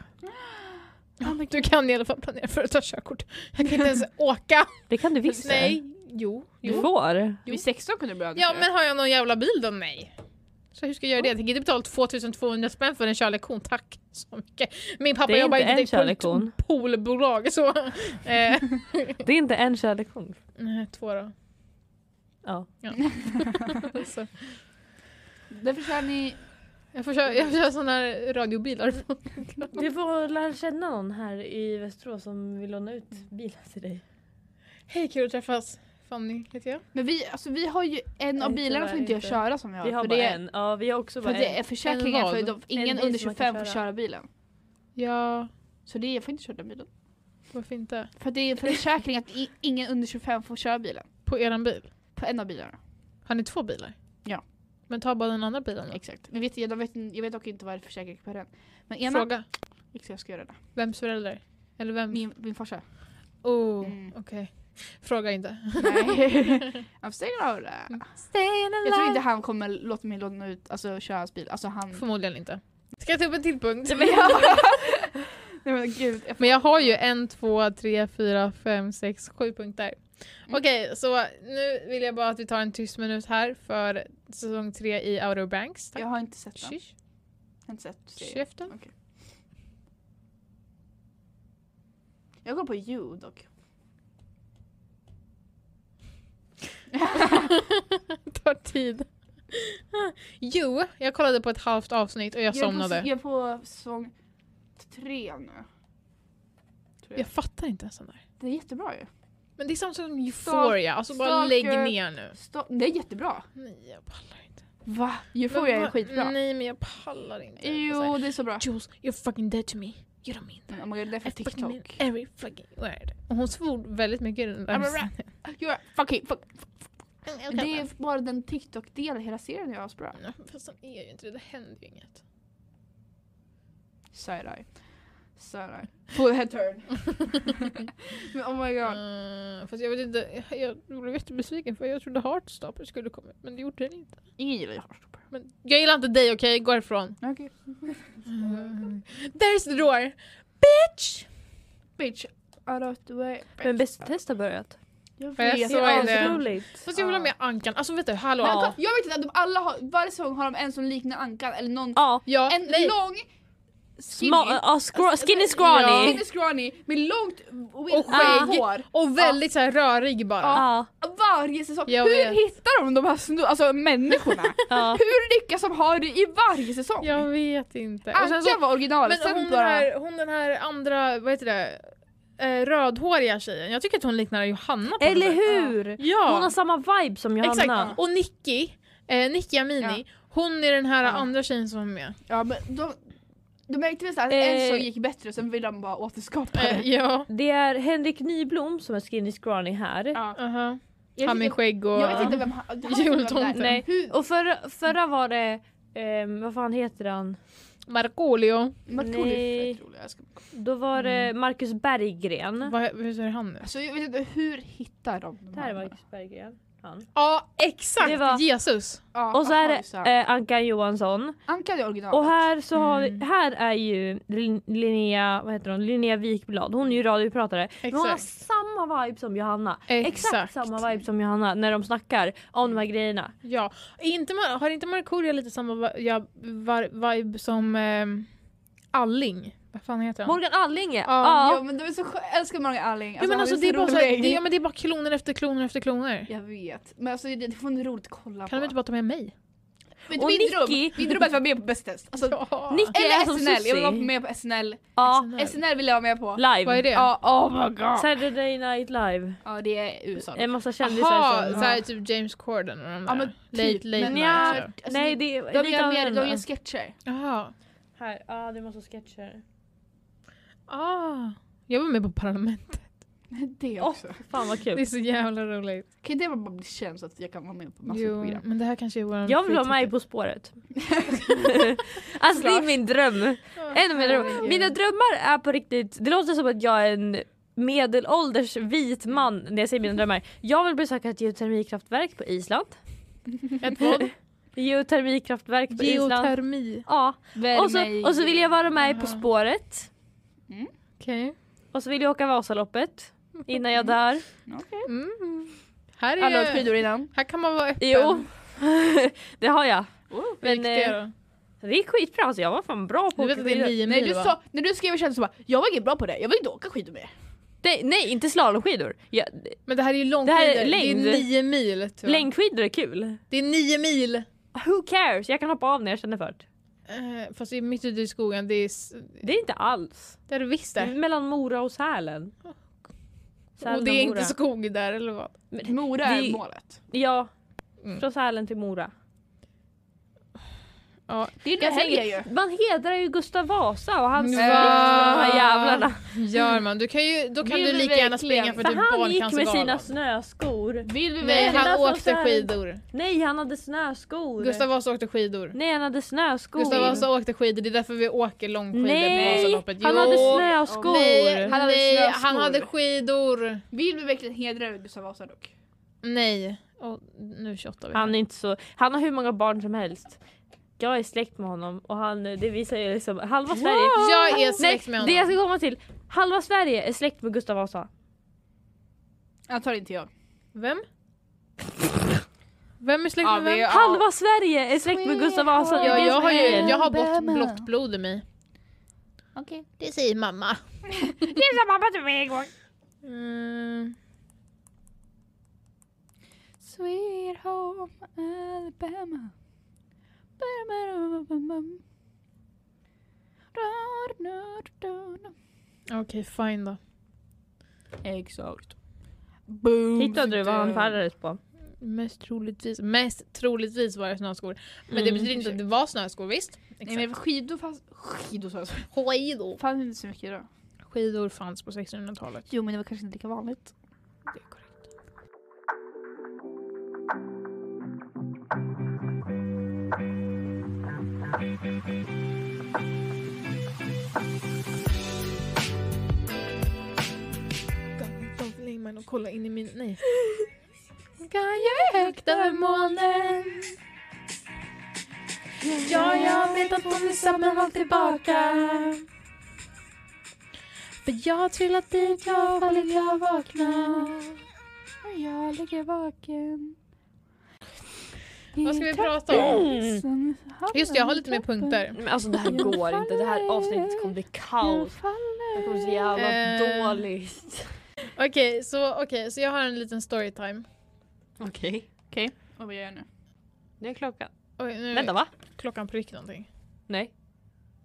Speaker 2: Du kan i alla fall planera för att ta körkort. Jag kan inte
Speaker 3: *laughs*
Speaker 2: ens åka.
Speaker 1: Det kan du visst.
Speaker 2: Nej. Jo.
Speaker 1: Du
Speaker 2: jo.
Speaker 1: får.
Speaker 3: Vid 16 kunde du börja
Speaker 2: Ja men har jag någon jävla bil då? Nej. Så hur ska jag göra det? Jag tänker inte betala 2200 spänn för en körlektion, tack så mycket. Min pappa
Speaker 1: Det är
Speaker 2: jobbar
Speaker 1: inte
Speaker 2: inte
Speaker 1: en
Speaker 2: direkt på
Speaker 1: körlektion.
Speaker 2: ett poolbolag så... *laughs* eh,
Speaker 1: Det är inte en körlektion.
Speaker 2: nej, två då.
Speaker 1: Ja.
Speaker 2: Så.
Speaker 3: Därför kör ni...
Speaker 2: Jag får köra, jag får köra såna här radiobilar. *laughs*
Speaker 1: Du får lära känna någon här i Västerås som vill låna ut bilar till dig.
Speaker 2: Hej kul att träffas. Fanny heter jag.
Speaker 3: Men vi, alltså, vi har ju en av
Speaker 1: Nej,
Speaker 3: bilarna
Speaker 1: tyvärr
Speaker 3: som inte jag
Speaker 1: inte.
Speaker 3: köra som vi har.
Speaker 1: Vi har
Speaker 3: för
Speaker 1: bara
Speaker 3: det,
Speaker 1: en. Ja, vi har också
Speaker 3: För
Speaker 1: bara
Speaker 3: det är
Speaker 1: en.
Speaker 3: försäkringen
Speaker 2: En
Speaker 3: för
Speaker 2: vad?
Speaker 3: de, ingen
Speaker 1: bil
Speaker 3: under
Speaker 1: som man
Speaker 3: 25
Speaker 1: kan
Speaker 3: får
Speaker 1: köra.
Speaker 3: köra bilen.
Speaker 2: Ja,
Speaker 3: Så det, jag får inte köra den bilen.
Speaker 2: varför inte?
Speaker 3: För det är en försäkring att i, ingen under 25 får köra bilen.
Speaker 2: På eran bil?
Speaker 3: På en av bilarna.
Speaker 2: Har ni två bilar?
Speaker 3: Ja.
Speaker 2: Men ta bara den andra bilen då.
Speaker 3: Exakt. Men vet, jag, de vet, jag vet dock inte vad det är för försäkring på den. Men ena...
Speaker 2: Fråga.
Speaker 3: Exakt, jag ska göra det.
Speaker 2: Vems förälder? Eller vem?
Speaker 3: Min, min *laughs* farsa.
Speaker 2: Oh,
Speaker 3: Mm.
Speaker 2: okej. Fråga inte.
Speaker 3: Nej. I'm staying out there.
Speaker 1: Stay in
Speaker 3: Jag tror inte han kommer låta mig låna ut, alltså köra hans bil. Alltså han...
Speaker 2: *laughs* Förmodligen inte. Ska jag ta upp en till punkt?
Speaker 3: Nej, Nej men gud. jag-
Speaker 2: Men jag har ju en, två, tre, fyra, fem, sex, sju punkter.
Speaker 3: Mm.
Speaker 2: Okej, så nu vill jag bara att vi tar en tyst minut här för säsong tre i Outer Banks. Tack.
Speaker 3: Jag har inte sett den.
Speaker 2: Shush,
Speaker 3: Jag har inte sett serien.
Speaker 2: Käften. *laughs*
Speaker 3: Okej. Jag går på you *laughs* dock.
Speaker 2: tar tid. Jo, jag kollade på ett halvt avsnitt och jag,
Speaker 3: är på-
Speaker 2: somnade.
Speaker 3: Jag är på säsong tre nu. Tror jag.
Speaker 2: Jag fattar inte ens den där.
Speaker 3: Det är jättebra ju.
Speaker 2: Men det är samma som Euphoria, alltså bara
Speaker 3: Stalker.
Speaker 2: lägg ner nu.
Speaker 3: Sta- det är jättebra.
Speaker 2: Nej, jag pallar inte.
Speaker 3: Va? Euphoria
Speaker 2: Men Mm.
Speaker 3: är
Speaker 2: va-
Speaker 3: skitbra.
Speaker 2: Nej, men jag pallar inte. Alltså, Så här,
Speaker 3: Jo, det är så bra.
Speaker 2: Jules, you're fucking dead to me. You don't mean that.
Speaker 3: Mm, det är för
Speaker 2: I fucking mean
Speaker 3: TikTok.
Speaker 2: every fucking word. Och hon svor väldigt mycket i den där
Speaker 3: I'm a rat.
Speaker 2: scenen.
Speaker 3: You're fucking fuck.
Speaker 2: Mm, jag
Speaker 3: Det
Speaker 2: kan
Speaker 3: är bara den TikTok-delen i hela serien jag är asbra.
Speaker 2: den. Fast den är ju inte det, det händer ju *laughs* inget.
Speaker 3: Side-eye. Side-eye. Full head turn. *laughs* Men oh my god.
Speaker 2: Mm, fast jag vet inte, jag blev jättebesviken för jag trodde Heartstopper skulle komma men det gjorde den inte.
Speaker 3: Ingen gillar ju Heartstopper.
Speaker 2: Men jag gillar inte dig okej, gå ifrån.
Speaker 3: Okej.
Speaker 2: Mm. There's the door! Bitch!
Speaker 3: Bitch. Out of the way.
Speaker 1: Men Bäst i test har börjat.
Speaker 3: Jag
Speaker 2: Ja, jag
Speaker 3: vet.
Speaker 2: såg
Speaker 3: Jag
Speaker 2: är
Speaker 3: vet.
Speaker 2: det.
Speaker 1: Asroligt.
Speaker 2: Fast jag vill ha med Ankan, alltså vet du, hallå.
Speaker 3: Men kolla, jag vet inte att de alla har, varje säsong har de en som liknar Ankan eller någon.
Speaker 1: Ja.
Speaker 2: Ja,
Speaker 3: En
Speaker 2: nej.
Speaker 3: lång skinny. Alltså,
Speaker 1: Sma- ja, scra- skinny
Speaker 2: Ja.
Speaker 1: scrawny.
Speaker 3: Skinny scrawny med långt
Speaker 2: Och skägg.
Speaker 3: hår.
Speaker 2: Och väldigt så här rörig bara.
Speaker 1: Ja.
Speaker 3: Varje säsong.
Speaker 2: Jag
Speaker 3: Hur
Speaker 2: vet.
Speaker 3: hittar de de här snu-
Speaker 2: *laughs*
Speaker 3: alltså, människorna?
Speaker 1: ja.
Speaker 3: Hur lyckas de ha det i varje säsong?
Speaker 2: Jag vet inte. Och sen
Speaker 3: Ankan
Speaker 2: så,
Speaker 3: var originalet.
Speaker 2: men hon
Speaker 3: sen
Speaker 2: den,
Speaker 3: bara...
Speaker 2: här, hon den här andra, vad heter det, eh, rödhåriga tjejen. Jag tycker att hon liknar Johanna på
Speaker 1: Eller
Speaker 2: något sätt.
Speaker 1: hur?
Speaker 2: Ja.
Speaker 1: Eh, Hon har samma vibe som Johanna.
Speaker 2: Exakt, och Nicky, eh, Nicky Amini, hon är den här
Speaker 3: Ja.
Speaker 2: andra tjejen som var med.
Speaker 3: Ja men de, de märkte väl såhär att en
Speaker 1: Eh.
Speaker 3: sång gick bättre och sen ville de bara återskapa
Speaker 2: Eh,
Speaker 3: det.
Speaker 2: ja,
Speaker 1: Det är Henrik Nyblom som är skinny scrawny här.
Speaker 3: Ja.
Speaker 2: aha.
Speaker 3: Jag
Speaker 2: han
Speaker 3: vet
Speaker 2: med
Speaker 3: inte-
Speaker 2: skägg och...
Speaker 3: Jag vet inte vem han han vet inte vem det
Speaker 2: Jultomten.
Speaker 3: är.
Speaker 1: Nej.
Speaker 3: Hur-
Speaker 1: Och förra, förra var det, ehm, vad fan heter han?
Speaker 2: Markoolio.
Speaker 3: Markoolio
Speaker 1: Nej.
Speaker 3: är fett rolig. Jag ska-
Speaker 1: Då var det Marcus Berggren.
Speaker 2: Vad, hur ser han ut?
Speaker 3: Alltså jag vet inte hur hittar de de
Speaker 1: Det här är
Speaker 3: här?
Speaker 1: Marcus Berggren. Han.
Speaker 2: Ja, exakt!
Speaker 1: Det var-
Speaker 2: Jesus!
Speaker 3: Ja,
Speaker 1: Och så är
Speaker 3: aha,
Speaker 1: det eh, Ankan Johansson.
Speaker 3: Ankan är originalet.
Speaker 1: Och här så har vi,
Speaker 2: Mm.
Speaker 1: här är ju Lin- Linnea, vad heter hon? Linnea Wikblad. Hon är ju radiopratare. Men hon har
Speaker 2: Exakt.
Speaker 1: samma vibe som Johanna.
Speaker 2: Exakt.
Speaker 1: samma vibe som Johanna när de snackar om de här grejerna.
Speaker 2: Ja. Är Inte, Mar- har inte Markoolio lite samma va- ja, var, vibe som ehm, Alling? Vad fan heter han?
Speaker 1: Morgan Allinge!
Speaker 2: Ja,
Speaker 3: Ja men de är så skö- jag älskar Morgan Alling.
Speaker 2: ja, men
Speaker 3: han
Speaker 2: alltså, det, är bara, så här,
Speaker 3: rolig.
Speaker 2: det, ja, men det är bara kloner efter kloner efter kloner.
Speaker 3: Jag vet. Men alltså det, det får ni roligt att kolla
Speaker 2: Kan
Speaker 3: på.
Speaker 2: de inte bara ta med mig?
Speaker 3: Mitt,
Speaker 1: Och
Speaker 3: mitt, rum,
Speaker 1: Nicky-
Speaker 3: mitt rum är att vara med på Bäst test. Alltså,
Speaker 2: Ja.
Speaker 1: Nicky är
Speaker 3: Eller
Speaker 1: som
Speaker 3: SNL, jag vill vara
Speaker 1: Susie.
Speaker 3: med på SNL.
Speaker 1: Ja,
Speaker 2: SNL.
Speaker 3: SNL vill jag vara med på.
Speaker 1: live.
Speaker 2: Vad är det?
Speaker 3: Ja, oh my god.
Speaker 1: Saturday Night Live.
Speaker 3: Ja det är USA.
Speaker 1: En massa kändisar
Speaker 2: Jaha,
Speaker 1: som...
Speaker 2: såhär typ James Corden och de där.
Speaker 3: Ja, men typ,
Speaker 2: late late
Speaker 3: men-
Speaker 2: night.
Speaker 1: Nja,
Speaker 2: show.
Speaker 3: Alltså,
Speaker 1: nej det är
Speaker 3: De
Speaker 1: lite
Speaker 3: gör, mer,
Speaker 1: annorlunda.
Speaker 3: de gör sketcher.
Speaker 2: Jaha.
Speaker 1: Här, ja ah, det är massa sketcher.
Speaker 2: Ah. Jag var med på Parlament.
Speaker 3: *laughs* Det
Speaker 1: Åh,
Speaker 3: också.
Speaker 1: Fan vad
Speaker 2: Det är
Speaker 1: kul.
Speaker 2: så jävla roligt.
Speaker 3: Kan inte jag bara bli känd så att jag kan vara med på massor
Speaker 2: Jo,
Speaker 3: av program?
Speaker 2: men det här kanske är vår
Speaker 1: Jag vill vara
Speaker 2: typ.
Speaker 1: med På
Speaker 2: *laughs*
Speaker 1: spåret. alltså det är min dröm. En av mina, drömmar. mina drömmar är på riktigt, det låter som att jag är en medelålders vit man när jag säger mina drömmar. Jag vill besöka ett geotermikraftverk på Island.
Speaker 2: Ett vad?
Speaker 1: Geotermikraftverk på Island.
Speaker 2: Geotermi.
Speaker 1: Ja.
Speaker 3: Värme
Speaker 1: Och, så, och så vill jag vara med På spåret.
Speaker 2: Okej.
Speaker 1: Och så vill jag åka Vasaloppet innan jag dör.
Speaker 2: Mm. Här,
Speaker 3: Alla har åkt
Speaker 2: är,
Speaker 3: skidor innan.
Speaker 2: här kan man vara öppen.
Speaker 1: Jo, *laughs* det har jag.
Speaker 2: Hur
Speaker 1: men,
Speaker 2: gick
Speaker 1: eh,
Speaker 2: det då?
Speaker 1: Det är skitbra alltså, jag var fan bra på
Speaker 2: Du
Speaker 1: att
Speaker 2: vet
Speaker 1: åka
Speaker 2: att det är
Speaker 1: skidor.
Speaker 2: nio
Speaker 3: När du,
Speaker 2: mil va?
Speaker 3: sa, när du skrev kändes det bara, jag var inte bra på det, jag vill inte åka skidor mer.
Speaker 1: Nej, nej inte slalomskidor. Jag,
Speaker 2: Men det här är ju långt
Speaker 1: Det här är
Speaker 2: under.
Speaker 1: längd.
Speaker 2: Det är nio mil. typ. Tror jag.
Speaker 1: längdskidor är kul.
Speaker 2: Det är nio mil.
Speaker 1: Who cares? Jag kan hoppa av när jag känner för det.
Speaker 2: Eh, fast det är mitt ute i skogen. Det är, s-
Speaker 1: Det är inte alls.
Speaker 2: det är det visst
Speaker 1: Det
Speaker 2: det.
Speaker 1: är mellan Mora och Sälen. Sälen
Speaker 2: Och det är
Speaker 1: Mora.
Speaker 2: inte skog där eller vad?
Speaker 3: Mora är
Speaker 1: Det-
Speaker 3: målet.
Speaker 1: Ja,
Speaker 2: Mm.
Speaker 1: från Sälen till Mora.
Speaker 2: Ja.
Speaker 3: Det är det
Speaker 1: Jag
Speaker 3: helgen ju.
Speaker 1: tänker- Man hedrar ju Gustav Vasa och hans
Speaker 2: Va?
Speaker 1: blick för de här jävlarna.
Speaker 2: Gör man? Du kan ju, då kan
Speaker 3: Vill
Speaker 2: du
Speaker 3: vi
Speaker 2: lika gärna
Speaker 3: verkligen?
Speaker 2: springa för
Speaker 1: För
Speaker 2: typ
Speaker 1: han gick med sina
Speaker 2: Barncancergalan.
Speaker 1: snöskor.
Speaker 3: Vill vi
Speaker 2: Nej,
Speaker 3: väl?
Speaker 1: Verkligen.
Speaker 2: han
Speaker 1: Från
Speaker 2: åkte
Speaker 1: Sälen.
Speaker 2: skidor.
Speaker 1: Nej, han hade snöskor.
Speaker 2: Gustav Vasa åkte skidor.
Speaker 1: Nej, han hade snöskor.
Speaker 2: Gustav Vasa åkte skidor, det är därför vi åker långskidor på
Speaker 1: Nej,
Speaker 2: Vasaloppet.
Speaker 1: han
Speaker 2: Jo.
Speaker 1: hade snöskor.
Speaker 2: Nej,
Speaker 3: Han hade
Speaker 2: nej,
Speaker 3: snöskor.
Speaker 2: han hade skidor.
Speaker 3: Vill vi verkligen hedra Gustav Vasa dock?
Speaker 2: Nej. Och nu tjottar vi.
Speaker 1: Han är inte så... Han har hur många barn som helst. jag är släkt med honom och han, eh, det visar ju liksom halva Sverige.
Speaker 2: Jag är släkt med
Speaker 1: Nej, det
Speaker 2: honom.
Speaker 1: jag ska komma till. Halva Sverige är släkt med Gustav Vasa.
Speaker 3: Jag tar inte jag.
Speaker 2: Vem? Vem är släkt
Speaker 3: Ja,
Speaker 2: med vem?
Speaker 3: vi- ja.
Speaker 1: Halva Sverige är släkt med Gustav Vasa. Det är
Speaker 2: Ja,
Speaker 1: det
Speaker 2: jag
Speaker 1: som
Speaker 2: har ju
Speaker 1: är-
Speaker 2: jag har blått, blått blod i mig.
Speaker 9: Okej.
Speaker 2: Det säger mamma.
Speaker 9: Det sa mamma till mig en gång.
Speaker 2: Mm.
Speaker 9: Sweet home Alabama.
Speaker 2: Okej, fine då.
Speaker 3: Exakt. Boom.
Speaker 1: Hittade du vad han färdades på?
Speaker 2: Mest troligtvis, mest troligtvis var det snöskor. Men det betyder inte att det var snöskor, visst?
Speaker 3: Nej men skidor fanns... Skidor sa jag.
Speaker 2: Skidor.
Speaker 3: Fanns inte så mycket då.
Speaker 2: Skidor fanns på 1600-talet.
Speaker 9: Jo men det var kanske inte lika vanligt.
Speaker 2: Jag vill lägga mig och kolla in i min... Nej. Kan jag ökta månen? Ja, jag vet att hon är samma håll tillbaka. För jag har trillat dit, jag har fallit, jag har vaknat.
Speaker 9: Och jag ligger vaken.
Speaker 2: Vad ska vi prata om?
Speaker 9: om?
Speaker 2: Just det, jag har lite mer punkter.
Speaker 1: Men alltså det här går inte, det här avsnittet kommer bli kaos. Det kommer bli så jävla
Speaker 2: Eh.
Speaker 1: dåligt.
Speaker 2: Okej, så, okej, så jag har en liten storytime.
Speaker 1: Okej.
Speaker 3: Och vad gör jag nu?
Speaker 1: Det är klockan.
Speaker 2: Oj, nu är
Speaker 1: Vänta va?
Speaker 2: klockan prick någonting.
Speaker 1: Nej.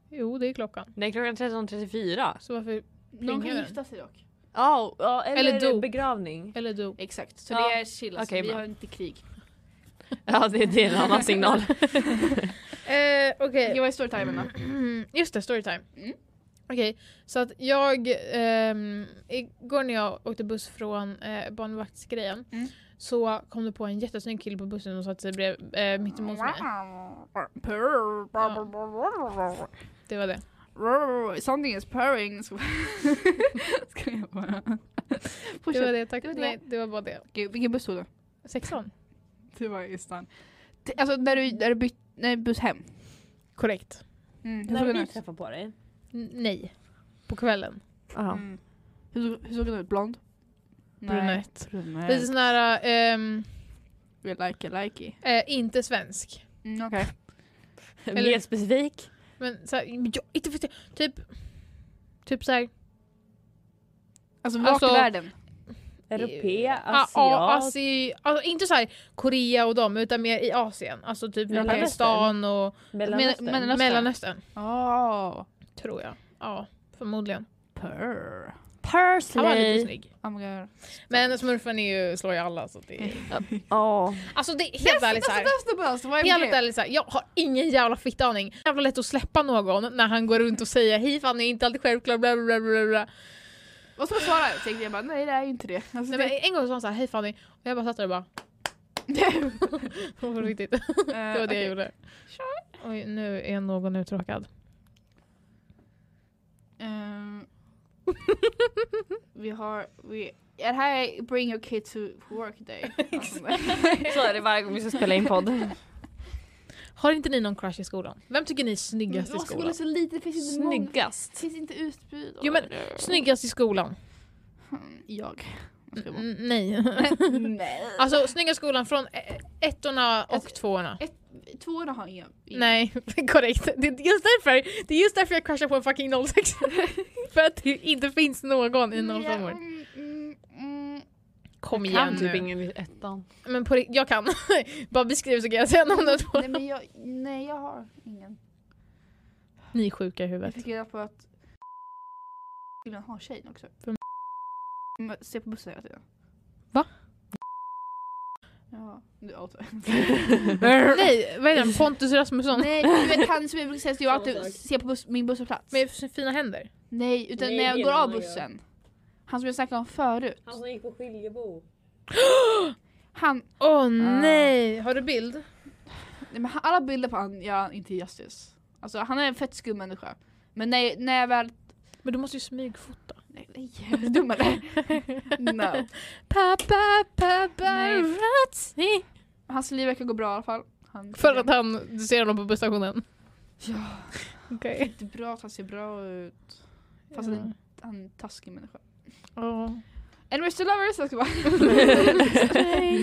Speaker 2: Jo, det är klockan.
Speaker 1: Det är klockan 13.34.
Speaker 2: Så varför...
Speaker 3: Någon
Speaker 2: Plingar
Speaker 3: kan
Speaker 2: den?
Speaker 3: gifta sig dock.
Speaker 1: Ja, ja, eller,
Speaker 2: Eller dop.
Speaker 1: begravning.
Speaker 2: Eller du.
Speaker 3: Exakt, så
Speaker 1: Ja.
Speaker 3: det är chill. Alltså.
Speaker 1: Okej,
Speaker 3: vi
Speaker 1: bra.
Speaker 3: har inte krig.
Speaker 1: Ja det, det är en annan signal.
Speaker 2: Eh, okej.
Speaker 3: Jag var i storytimen då.
Speaker 2: Mm, *clears throat* Just det, storytime.
Speaker 3: Mm.
Speaker 2: Okej, så att jag... ehm, igår när jag åkte buss från eh, barnvaktsgrejen
Speaker 3: Mm.
Speaker 2: så kom det på en jättesnygg kille på bussen och satte sig brev, eh, mitt emot mig. Ja. Det var det.
Speaker 3: Something is purring. Ska *laughs* Ska jag bara...
Speaker 2: Det var
Speaker 3: Fortsätt.
Speaker 2: det, tack.
Speaker 3: Det var det.
Speaker 2: Nej, det var bara det.
Speaker 3: Okej, Vilken buss tog du?
Speaker 2: 16.
Speaker 3: Det var just den. T- Alltså när du, när du bytte nej, buss hem.
Speaker 2: Korrekt.
Speaker 3: Mm. Hur såg
Speaker 1: *laughs* När
Speaker 3: den
Speaker 1: vi
Speaker 3: ut?
Speaker 1: träffar på dig.
Speaker 2: N- nej. På kvällen.
Speaker 1: Aha.
Speaker 3: Mm. Hur, såg- hur såg den ut? Blond?
Speaker 2: Brunett.
Speaker 3: Brunett.
Speaker 2: Lite sån här... ehm,
Speaker 3: We like it, like it.
Speaker 2: eh, inte svensk.
Speaker 3: Mm, Okej.
Speaker 2: Eller-
Speaker 1: Mer specifik.
Speaker 2: Men så här, jag, inte för, typ... Typ så här...
Speaker 3: Alltså vart
Speaker 2: Alltså-
Speaker 3: i världen?
Speaker 1: Europé,
Speaker 2: Ja, ja,
Speaker 1: asiat.
Speaker 2: Asi, alltså, inte så här Korea och dem utan mer i Asien. Alltså typ
Speaker 1: Mellanöstern.
Speaker 2: Pakistan och
Speaker 1: Mellanöstern.
Speaker 3: Men-
Speaker 2: Mellanöstern.
Speaker 3: men- Mellanöstern. Åh.
Speaker 2: Ah. tror jag. Ja, förmodligen.
Speaker 3: Purr.
Speaker 2: Han var lite
Speaker 1: Parsley.
Speaker 2: snygg.
Speaker 3: Oh my god.
Speaker 2: Men smurfen är ju, slår ju alla så det
Speaker 1: Mm.
Speaker 2: är...
Speaker 1: Ja.
Speaker 2: Alltså det är helt ärligt såhär.
Speaker 3: That's the best, vad är
Speaker 2: Helt
Speaker 3: det?
Speaker 2: ärligt såhär, jag har ingen jävla fittaning. Jävla lätt att släppa någon när han går runt och säger hej fan jag är inte alltid självklar bla bla bla bla, bla.
Speaker 3: Vad ska man svara? Jag tänkte jag bara, nej det är ju inte det.
Speaker 2: Nej,
Speaker 3: Alltså,
Speaker 2: men en gång sa han såhär hej Fanny och jag bara satt där och bara *laughs* på riktigt. *laughs* Det
Speaker 3: Eh,
Speaker 2: var det
Speaker 3: okej.
Speaker 2: jag gjorde. Oj nu är någon uttråkad.
Speaker 3: *laughs* Ehm, vi har, vi, är det här bring your kid to work *laughs* day? *laughs*
Speaker 1: Så är det varje gång vi ska spela in podd.
Speaker 2: Har inte ni någon crush i skolan? Vem tycker ni är snyggast
Speaker 3: Mm,
Speaker 2: i skolan?
Speaker 3: så lite, det finns inte många. Det
Speaker 1: Snyggast.
Speaker 3: finns inte utbud.
Speaker 2: Jo, men- Snyggast i skolan?
Speaker 3: Mm, Jag. Jag ska bara-
Speaker 2: Mm, nej. *laughs*
Speaker 3: *laughs* Nej.
Speaker 2: alltså snyggast i skolan från eh, ettorna och
Speaker 3: Alltså,
Speaker 2: tvåorna.
Speaker 3: Tvåorna har inga. inga-
Speaker 2: Nej, *laughs* korrekt. Det är just därför, det är just därför jag crushar på en fucking 06.
Speaker 3: *laughs*
Speaker 2: För att det inte finns någon i 05
Speaker 3: Mm, mm,
Speaker 2: *laughs*
Speaker 3: mm.
Speaker 2: Kom igen
Speaker 1: Kan typ
Speaker 2: nu.
Speaker 1: ingen i ettan. *laughs*
Speaker 2: Men på, rikt- jag kan. *laughs* Bara beskriv så kan jag säga någon av två.
Speaker 3: Nej men jag, nej jag har ingen.
Speaker 2: Ni är sjuka i
Speaker 3: Jag
Speaker 2: huvudet.
Speaker 3: fick reda på att killen har tjejen också.
Speaker 2: Vem?
Speaker 3: Mm, Ser på bussen hela tiden.
Speaker 2: Va?
Speaker 3: Ja, du outar.
Speaker 2: *laughs* Nej, vad är *laughs* den? Pontus Rasmusson?
Speaker 3: Nej, du vet han som jag brukar säga att jag alltid ser på bus, min busshållplats.
Speaker 2: Med fina händer?
Speaker 3: Nej, utan
Speaker 1: Nej,
Speaker 3: när jag
Speaker 1: det
Speaker 3: går
Speaker 1: är
Speaker 3: av
Speaker 1: någon
Speaker 3: bussen. Han som jag snackade om förut.
Speaker 1: Han som gick på skiljebo.
Speaker 3: Han,
Speaker 2: Åh nej! Har du bild?
Speaker 3: nej, men han- alla bilder på han, ja, inte Justice. Alltså han är en fett skum människa. Men när, när jag väl...
Speaker 2: Men du måste ju smygfota.
Speaker 3: Nej, nej, *laughs* jag
Speaker 1: *laughs*
Speaker 3: är dummare. no.
Speaker 2: Paparazzi.
Speaker 3: Hans liv verkar gå bra i alla fall. Han
Speaker 2: För att han, du ser honom på busstationen?
Speaker 3: Ja.
Speaker 2: Okej.
Speaker 3: det är bra att han ser bra ut. Fast han, han är en taskig människa.
Speaker 2: Ja.
Speaker 3: Anyways to lovers, jag ska bara...
Speaker 1: *laughs*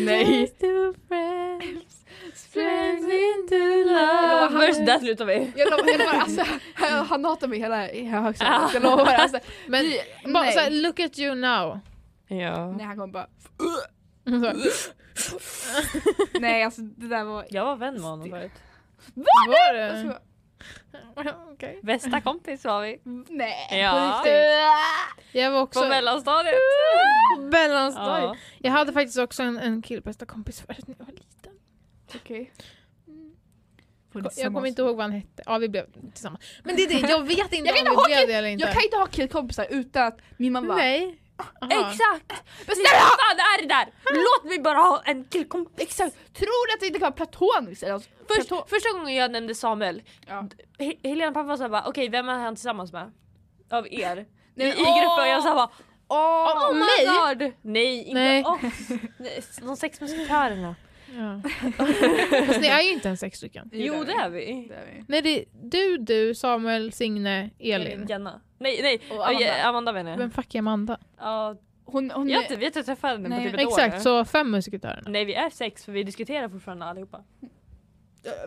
Speaker 1: Nej.
Speaker 9: to friends, friends into
Speaker 1: Lovers, där slutar vi.
Speaker 3: Jag lovar, jag lovar alltså, han- han hatar mig hela, hela högstadiet. Jag lovar alltså.
Speaker 2: Men
Speaker 3: Vi-
Speaker 2: bara
Speaker 3: nej.
Speaker 2: såhär, look at you *laughs* now.
Speaker 1: Ja.
Speaker 3: Nej han kommer bara...
Speaker 2: Så här,
Speaker 3: Nej alltså det där var... Alltså,
Speaker 1: Jag var vän med honom förut.
Speaker 2: Var
Speaker 3: Jag ska
Speaker 2: det?
Speaker 3: bara
Speaker 2: Okej.
Speaker 1: Bästa kompis var vi.
Speaker 3: nej.
Speaker 1: Ja.
Speaker 2: Jag var också...
Speaker 1: På
Speaker 2: *laughs*
Speaker 1: mellanstadiet.
Speaker 2: Mellanstadiet.
Speaker 1: Ja.
Speaker 2: Jag hade faktiskt också en, en killbästa kompis *laughs* förut när jag var liten.
Speaker 3: Okej.
Speaker 2: Jag kommer inte ihåg vad han hette. Ja, vi blev tillsammans. Men det är det, jag vet inte om vi blev det eller inte.
Speaker 3: Jag kan inte ha killkompisar utan att min mamma bara...
Speaker 2: Nej. Aha.
Speaker 1: Exakt! Bestäm fan det är det där! Låt mig bara ha en killkompis. Exakt!
Speaker 3: Tror du att det inte kan vara platoniskt? Eller något?
Speaker 1: Först,
Speaker 3: Platon-
Speaker 1: första gången jag nämnde Samuel,
Speaker 3: Ja.
Speaker 1: He- Helena pappa var såhär bara, okej vem är han tillsammans med? Av er? I,
Speaker 3: Nej,
Speaker 1: i
Speaker 3: men-
Speaker 1: gruppen, jag sa bara
Speaker 3: Åh,
Speaker 1: oh, my
Speaker 3: mig?
Speaker 1: god! Nej, inte
Speaker 2: Nej.
Speaker 1: oss! Nej, De sex musketörerna.
Speaker 2: Ja. Fast ni är ju inte ens sex stycken.
Speaker 1: Jo det är vi.
Speaker 3: Det är vi.
Speaker 2: Nej, det är du, du, Samuel, Signe, Elin.
Speaker 1: Jenna. Nej, nej.
Speaker 3: Och Amanda.
Speaker 1: Amanda, Amanda menar jag.
Speaker 2: Vem fuck är Amanda?
Speaker 1: Ja,
Speaker 3: Hon, hon,
Speaker 1: jag vet inte, jag träffade henne på
Speaker 3: Nej,
Speaker 1: typ ett år.
Speaker 2: Exakt, så fem musikatörerna.
Speaker 1: Nej vi är sex för vi diskuterar fortfarande allihopa.